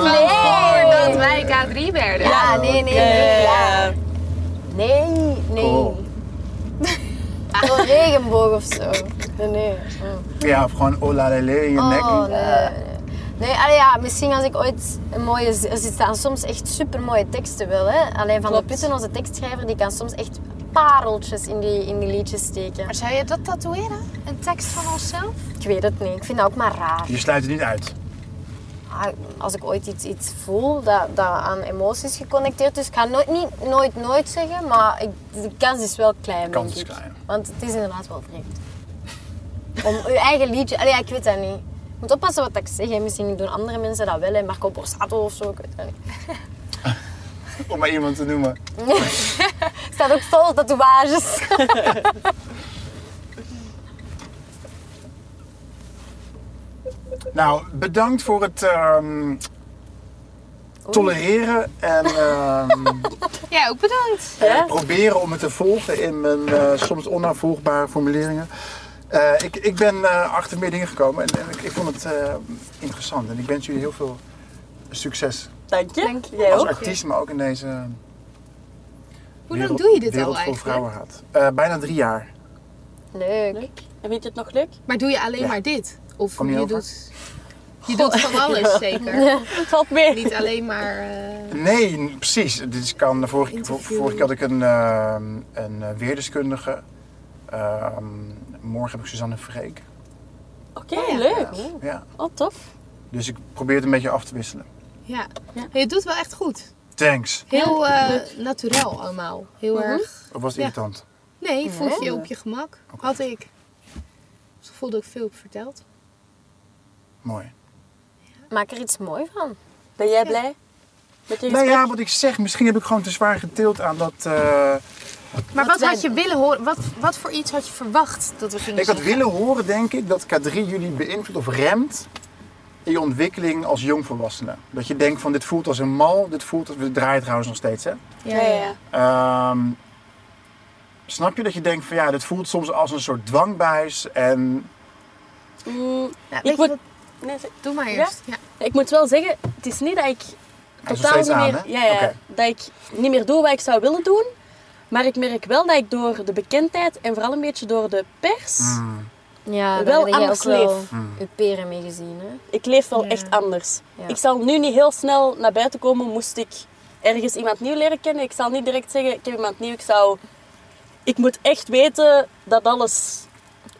Speaker 4: nee.
Speaker 3: Voordat wij K3 werden.
Speaker 4: Ja, nee, nee, nee. Ja. Nee, nee.
Speaker 2: Cool.
Speaker 4: Zo'n regenboog of zo. Nee, nee.
Speaker 2: Ja, of gewoon oh la la la in je nek.
Speaker 4: Oh, nee. nee. Nee, allee, ja, misschien als ik ooit een mooie... z- Er staan soms echt supermooie teksten wel, hè. Alleen Van de
Speaker 5: Klopt.
Speaker 4: Putten, onze tekstschrijver, die kan soms echt pareltjes in die, in die liedjes steken.
Speaker 3: Maar zou je dat tatoeëren? Een tekst van onszelf?
Speaker 4: Ik weet het niet. Ik vind dat ook maar raar.
Speaker 2: Je sluit het niet uit.
Speaker 4: Ah, Als ik ooit iets, iets voel dat, dat aan emoties geconnecteerd is, ik ga nooit, niet, nooit, nooit zeggen, maar ik, de kans is wel klein,
Speaker 2: Kans
Speaker 4: denk
Speaker 2: is
Speaker 4: ik.
Speaker 2: klein.
Speaker 4: Want het is inderdaad wel vreemd. Om je eigen liedje... Allee, ja, ik weet dat niet. Ik moet oppassen wat ik zeg. hè. Misschien doen andere mensen dat wel. Hè. Marco Borsato of zo, ik weet dat niet.
Speaker 2: Om maar iemand te noemen.
Speaker 4: Er staat ook vol tatoeages.
Speaker 2: Nou, bedankt voor het ehm, tolereren
Speaker 3: [LAUGHS]
Speaker 2: en ehm,
Speaker 3: Ja, ook bedankt.
Speaker 5: Ja?
Speaker 2: proberen om het te volgen in mijn eh, soms onafvolgbare formuleringen. Eh, ik, ik ben eh, achter meer dingen gekomen en, en ik, ik vond het eh, interessant. En ik wens jullie heel veel succes
Speaker 5: Dank je.
Speaker 4: Dank je.
Speaker 5: Jij
Speaker 2: als
Speaker 5: ook.
Speaker 2: artiest, maar ook in deze
Speaker 3: Hoe lang
Speaker 2: wereld-
Speaker 3: doe je dit al
Speaker 2: wereld vol
Speaker 3: eigenlijk?
Speaker 2: vrouwenhaat. Eh, bijna drie jaar.
Speaker 4: Leuk.
Speaker 5: Leuk. En vind je het nog leuk?
Speaker 3: Maar doe je alleen
Speaker 2: Ja.
Speaker 3: maar dit? Of
Speaker 2: Kom je
Speaker 3: je
Speaker 2: over?
Speaker 3: doet... Je doet van alles zeker.
Speaker 5: Het [LAUGHS] valt mee.
Speaker 3: Niet alleen maar... eh,
Speaker 2: Nee, n- precies. Dit kan, vorige, vor- vorige keer had ik een, ehm, een eh, weerdeskundige. Ehm, morgen heb ik Suzanne Freek.
Speaker 5: Oké, leuk.
Speaker 2: Ja.
Speaker 5: Oh, tof.
Speaker 2: Dus ik probeer het een beetje af te wisselen.
Speaker 3: ja. Je doet wel echt goed.
Speaker 2: Thanks.
Speaker 3: Heel eh naturel allemaal. Heel erg...
Speaker 2: Of was het
Speaker 3: Ja.
Speaker 2: irritant?
Speaker 3: Nee, voel je je op je gemak. Had ik. Dus voelde ik veel op verteld.
Speaker 2: Mooi.
Speaker 4: Maak er iets mooi van.
Speaker 5: Ben jij blij? Met
Speaker 2: Nou
Speaker 5: je gesprek?
Speaker 2: ja, wat ik zeg, misschien heb ik gewoon te zwaar getild aan dat. eh,
Speaker 3: Maar wat,
Speaker 4: zijn-
Speaker 3: had je willen horen? Wat, wat voor iets had je verwacht dat we gingen
Speaker 2: ik had
Speaker 3: zeggen?
Speaker 2: willen horen, denk ik, dat K3 jullie beïnvloedt of remt in je ontwikkeling als jongvolwassene. Dat je denkt van dit voelt als een mal, dit voelt als. We draaien trouwens nog steeds, hè?
Speaker 5: Ja, ja, ja.
Speaker 2: Ehm, snap je dat je denkt van ja, dit voelt soms als een soort dwangbuis en
Speaker 5: Mm,
Speaker 3: Nou, weet
Speaker 5: ik,
Speaker 3: je
Speaker 5: moet,
Speaker 3: wat?
Speaker 5: nee, zeg-
Speaker 3: Doe maar
Speaker 5: Ja?
Speaker 3: eerst. Ja?
Speaker 5: ik moet wel zeggen, het is niet dat ik
Speaker 2: Hij is nog
Speaker 5: totaal niet
Speaker 2: steeds aan,
Speaker 5: meer,
Speaker 2: hè?
Speaker 5: ja, ja,
Speaker 2: Oké.
Speaker 5: dat ik niet meer doe wat ik zou willen doen. Maar ik merk wel dat ik door de bekendheid en vooral een beetje door de pers,
Speaker 2: Mm.
Speaker 4: Ja, daar
Speaker 5: Wel
Speaker 4: heb jij ook
Speaker 5: anders
Speaker 4: wel
Speaker 5: leef.
Speaker 2: Hmm.
Speaker 4: je peren mee gezien. Hè?
Speaker 5: ik leef wel
Speaker 3: Ja.
Speaker 5: echt anders.
Speaker 4: Ja.
Speaker 5: Ik zal nu niet heel snel naar buiten komen moest ik ergens iemand nieuw leren kennen. Ik zal niet direct zeggen, ik heb iemand nieuw. Ik zou... Ik moet echt weten dat alles...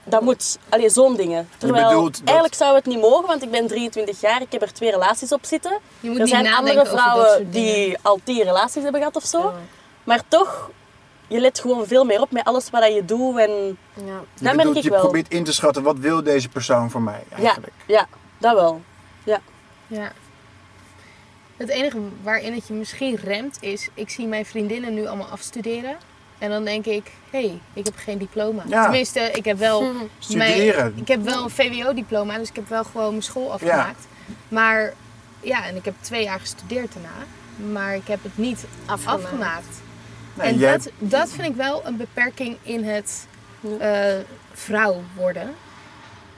Speaker 5: Dat moet. Allee, zo'n dingen. Terwijl,
Speaker 2: bedoelt dat-
Speaker 5: eigenlijk zou het niet mogen, want ik ben 23 jaar. Ik heb er twee relaties op zitten.
Speaker 3: Je moet
Speaker 5: er
Speaker 3: niet
Speaker 5: zijn
Speaker 3: nadenken
Speaker 5: andere
Speaker 3: over dat
Speaker 5: vrouwen
Speaker 3: soort dingen.
Speaker 5: die al tien relaties hebben gehad of zo. Maar toch, je let gewoon veel meer op met alles wat je doet. En
Speaker 4: Ja.
Speaker 2: je,
Speaker 5: dat merk
Speaker 2: bedoelt,
Speaker 5: ik
Speaker 2: je
Speaker 5: wel.
Speaker 2: probeert in te schatten wat wil deze persoon voor mij
Speaker 5: ja,
Speaker 2: eigenlijk.
Speaker 5: ja, dat wel.
Speaker 3: Ja. Het enige waarin het je misschien remt is, ik zie mijn vriendinnen nu allemaal afstuderen. En dan denk ik, hé, hey, ik heb geen diploma.
Speaker 2: Ja.
Speaker 3: Tenminste, ik heb [LAUGHS] wel
Speaker 2: Studeren.
Speaker 3: Mijn, ik heb wel een VWO-diploma, dus ik heb wel gewoon mijn school afgemaakt. Maar ja, en ik heb twee jaar gestudeerd daarna. Maar ik heb het niet
Speaker 4: Afgemaakt.
Speaker 3: afgemaakt.
Speaker 2: Nee,
Speaker 3: en
Speaker 2: jij-
Speaker 3: dat, dat vind ik wel een beperking in het eh, vrouw worden.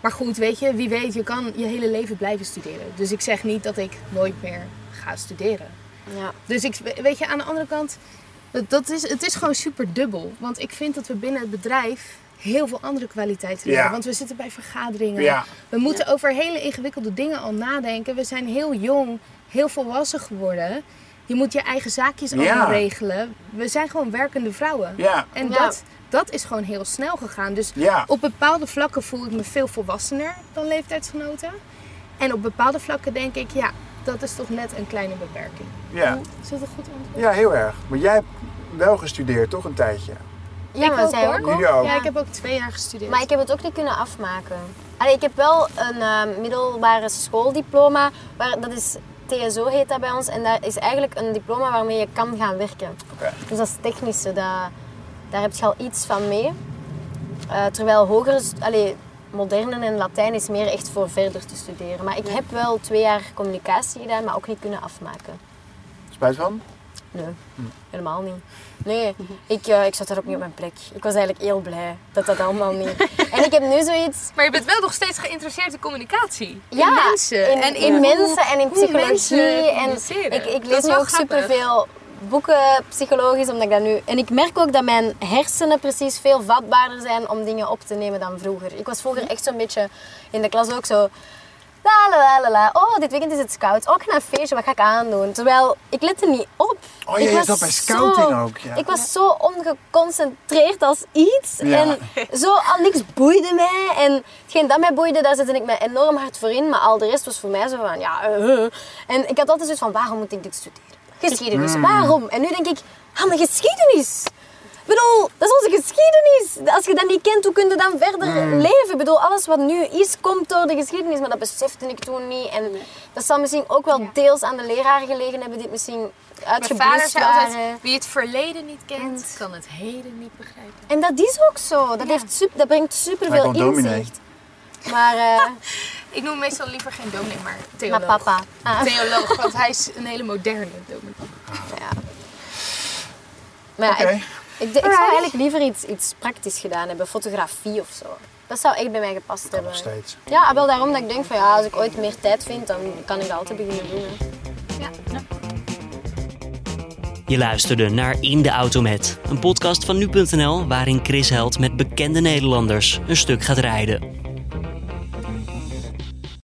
Speaker 3: Maar goed, weet je, wie weet, je kan je hele leven blijven studeren. Dus ik zeg niet dat ik nooit meer ga studeren.
Speaker 4: Ja.
Speaker 3: Dus ik, weet je, aan de andere kant, dat- dat is, het is gewoon super dubbel. Want ik vind dat we binnen het bedrijf heel veel andere kwaliteiten
Speaker 2: Ja.
Speaker 3: hebben. Want we zitten bij vergaderingen.
Speaker 2: Ja.
Speaker 3: We moeten over hele ingewikkelde dingen al nadenken. We zijn heel jong, heel volwassen geworden. Je moet je eigen zaakjes
Speaker 2: Ja.
Speaker 3: allemaal regelen. We zijn gewoon werkende vrouwen.
Speaker 2: Ja.
Speaker 3: En
Speaker 4: Ja.
Speaker 3: Dat, dat is gewoon heel snel gegaan. Dus
Speaker 2: Ja.
Speaker 3: op bepaalde vlakken voel ik me veel volwassener dan leeftijdsgenoten. En op bepaalde vlakken denk ik, ja, dat is toch net een kleine beperking.
Speaker 2: Ja.
Speaker 3: Is dat een goed antwoord?
Speaker 2: ja, heel erg. Maar jij hebt wel gestudeerd, toch een tijdje?
Speaker 4: Ja, maar zij ook.
Speaker 2: hoor. Jullie ook.
Speaker 3: Ja, ik heb ook twee jaar gestudeerd.
Speaker 4: Maar ik heb het ook niet kunnen afmaken. Allee, ik heb wel een eh, middelbare schooldiploma. Waar, dat is TSO heet dat bij ons. En dat is eigenlijk een diploma waarmee je kan gaan werken.
Speaker 2: Oké.
Speaker 4: Dus dat is technisch. Dat, daar heb je al iets van mee. Eh, terwijl hoger, allee, moderne en Latijn is meer echt voor verder te studeren. Maar ik heb wel twee jaar communicatie gedaan, maar ook niet kunnen afmaken.
Speaker 2: Spijt van?
Speaker 4: Nee, helemaal niet. Nee, ik, eh, ik zat daar ook niet op mijn plek. Ik was eigenlijk heel blij dat dat allemaal niet. En ik heb nu zoiets.
Speaker 3: Maar je bent wel nog steeds geïnteresseerd in communicatie.
Speaker 4: Ja,
Speaker 3: in mensen.
Speaker 4: in,
Speaker 3: en in,
Speaker 4: in
Speaker 3: hoe-
Speaker 4: mensen en in
Speaker 3: hoe mensen
Speaker 4: psychologie. En
Speaker 3: communiceren.
Speaker 4: ik, ik
Speaker 3: Dat
Speaker 4: lees
Speaker 3: is
Speaker 4: nu
Speaker 3: wel
Speaker 4: ook
Speaker 3: grappig.
Speaker 4: superveel boeken psychologisch, omdat ik dat nu... En ik merk ook dat mijn hersenen precies veel vatbaarder zijn om dingen op te nemen dan vroeger. Ik was vroeger echt zo'n beetje in de klas ook zo... La la la la la, oh dit weekend is het scout, oh ik ga naar een feestje, wat ga ik aandoen? Terwijl, ik lette niet op.
Speaker 2: Oh ja,
Speaker 4: Ik
Speaker 2: je
Speaker 4: was
Speaker 2: zat bij scouting
Speaker 4: zo-
Speaker 2: ook, ja.
Speaker 4: Ik was zo ongeconcentreerd als iets.
Speaker 2: Ja.
Speaker 4: En zo, al niks boeide mij. En hetgeen dat mij boeide, daar zette ik me enorm hard voor in. Maar al de rest was voor mij zo van, ja, eh, eh. En ik had altijd zoiets van, waarom moet ik dit studeren? Geschiedenis, waarom? En nu denk ik, ah, maar geschiedenis. Ik bedoel, dat is onze geschiedenis. Als je dat niet kent, hoe kun je dan verder leven? Ik bedoel, alles wat nu is, komt door de geschiedenis. Maar dat besefte ik toen niet. En dat zal misschien ook wel deels aan de leraar gelegen hebben, die het misschien
Speaker 3: Mijn vader
Speaker 4: uitgeblust
Speaker 3: zei
Speaker 4: waren.
Speaker 3: altijd, wie het verleden niet kent, kan het heden niet begrijpen.
Speaker 4: En dat is ook zo. Dat, heeft sup- dat brengt
Speaker 2: Hij
Speaker 4: superveel
Speaker 2: komt dominee.
Speaker 4: inzicht. Maar, eh
Speaker 3: Ik noem meestal liever geen dominee, maar
Speaker 4: maar
Speaker 3: theoloog.
Speaker 4: papa. Ah,
Speaker 3: Theoloog, want hij is een hele moderne dominee.
Speaker 4: ja. Maar ja,
Speaker 2: Oké.
Speaker 4: ik, ik, de- ik zou eigenlijk liever iets, iets praktisch gedaan hebben. Fotografie of zo. Dat zou echt bij mij gepast hebben.
Speaker 2: Nog steeds.
Speaker 4: Ja, wel daarom dat ik denk van ja, als ik ooit meer tijd vind, dan kan ik dat altijd beginnen doen. hè.
Speaker 1: Je luisterde naar In de Auto Met, een podcast van nu.nl waarin Chris Held met bekende Nederlanders een stuk gaat rijden.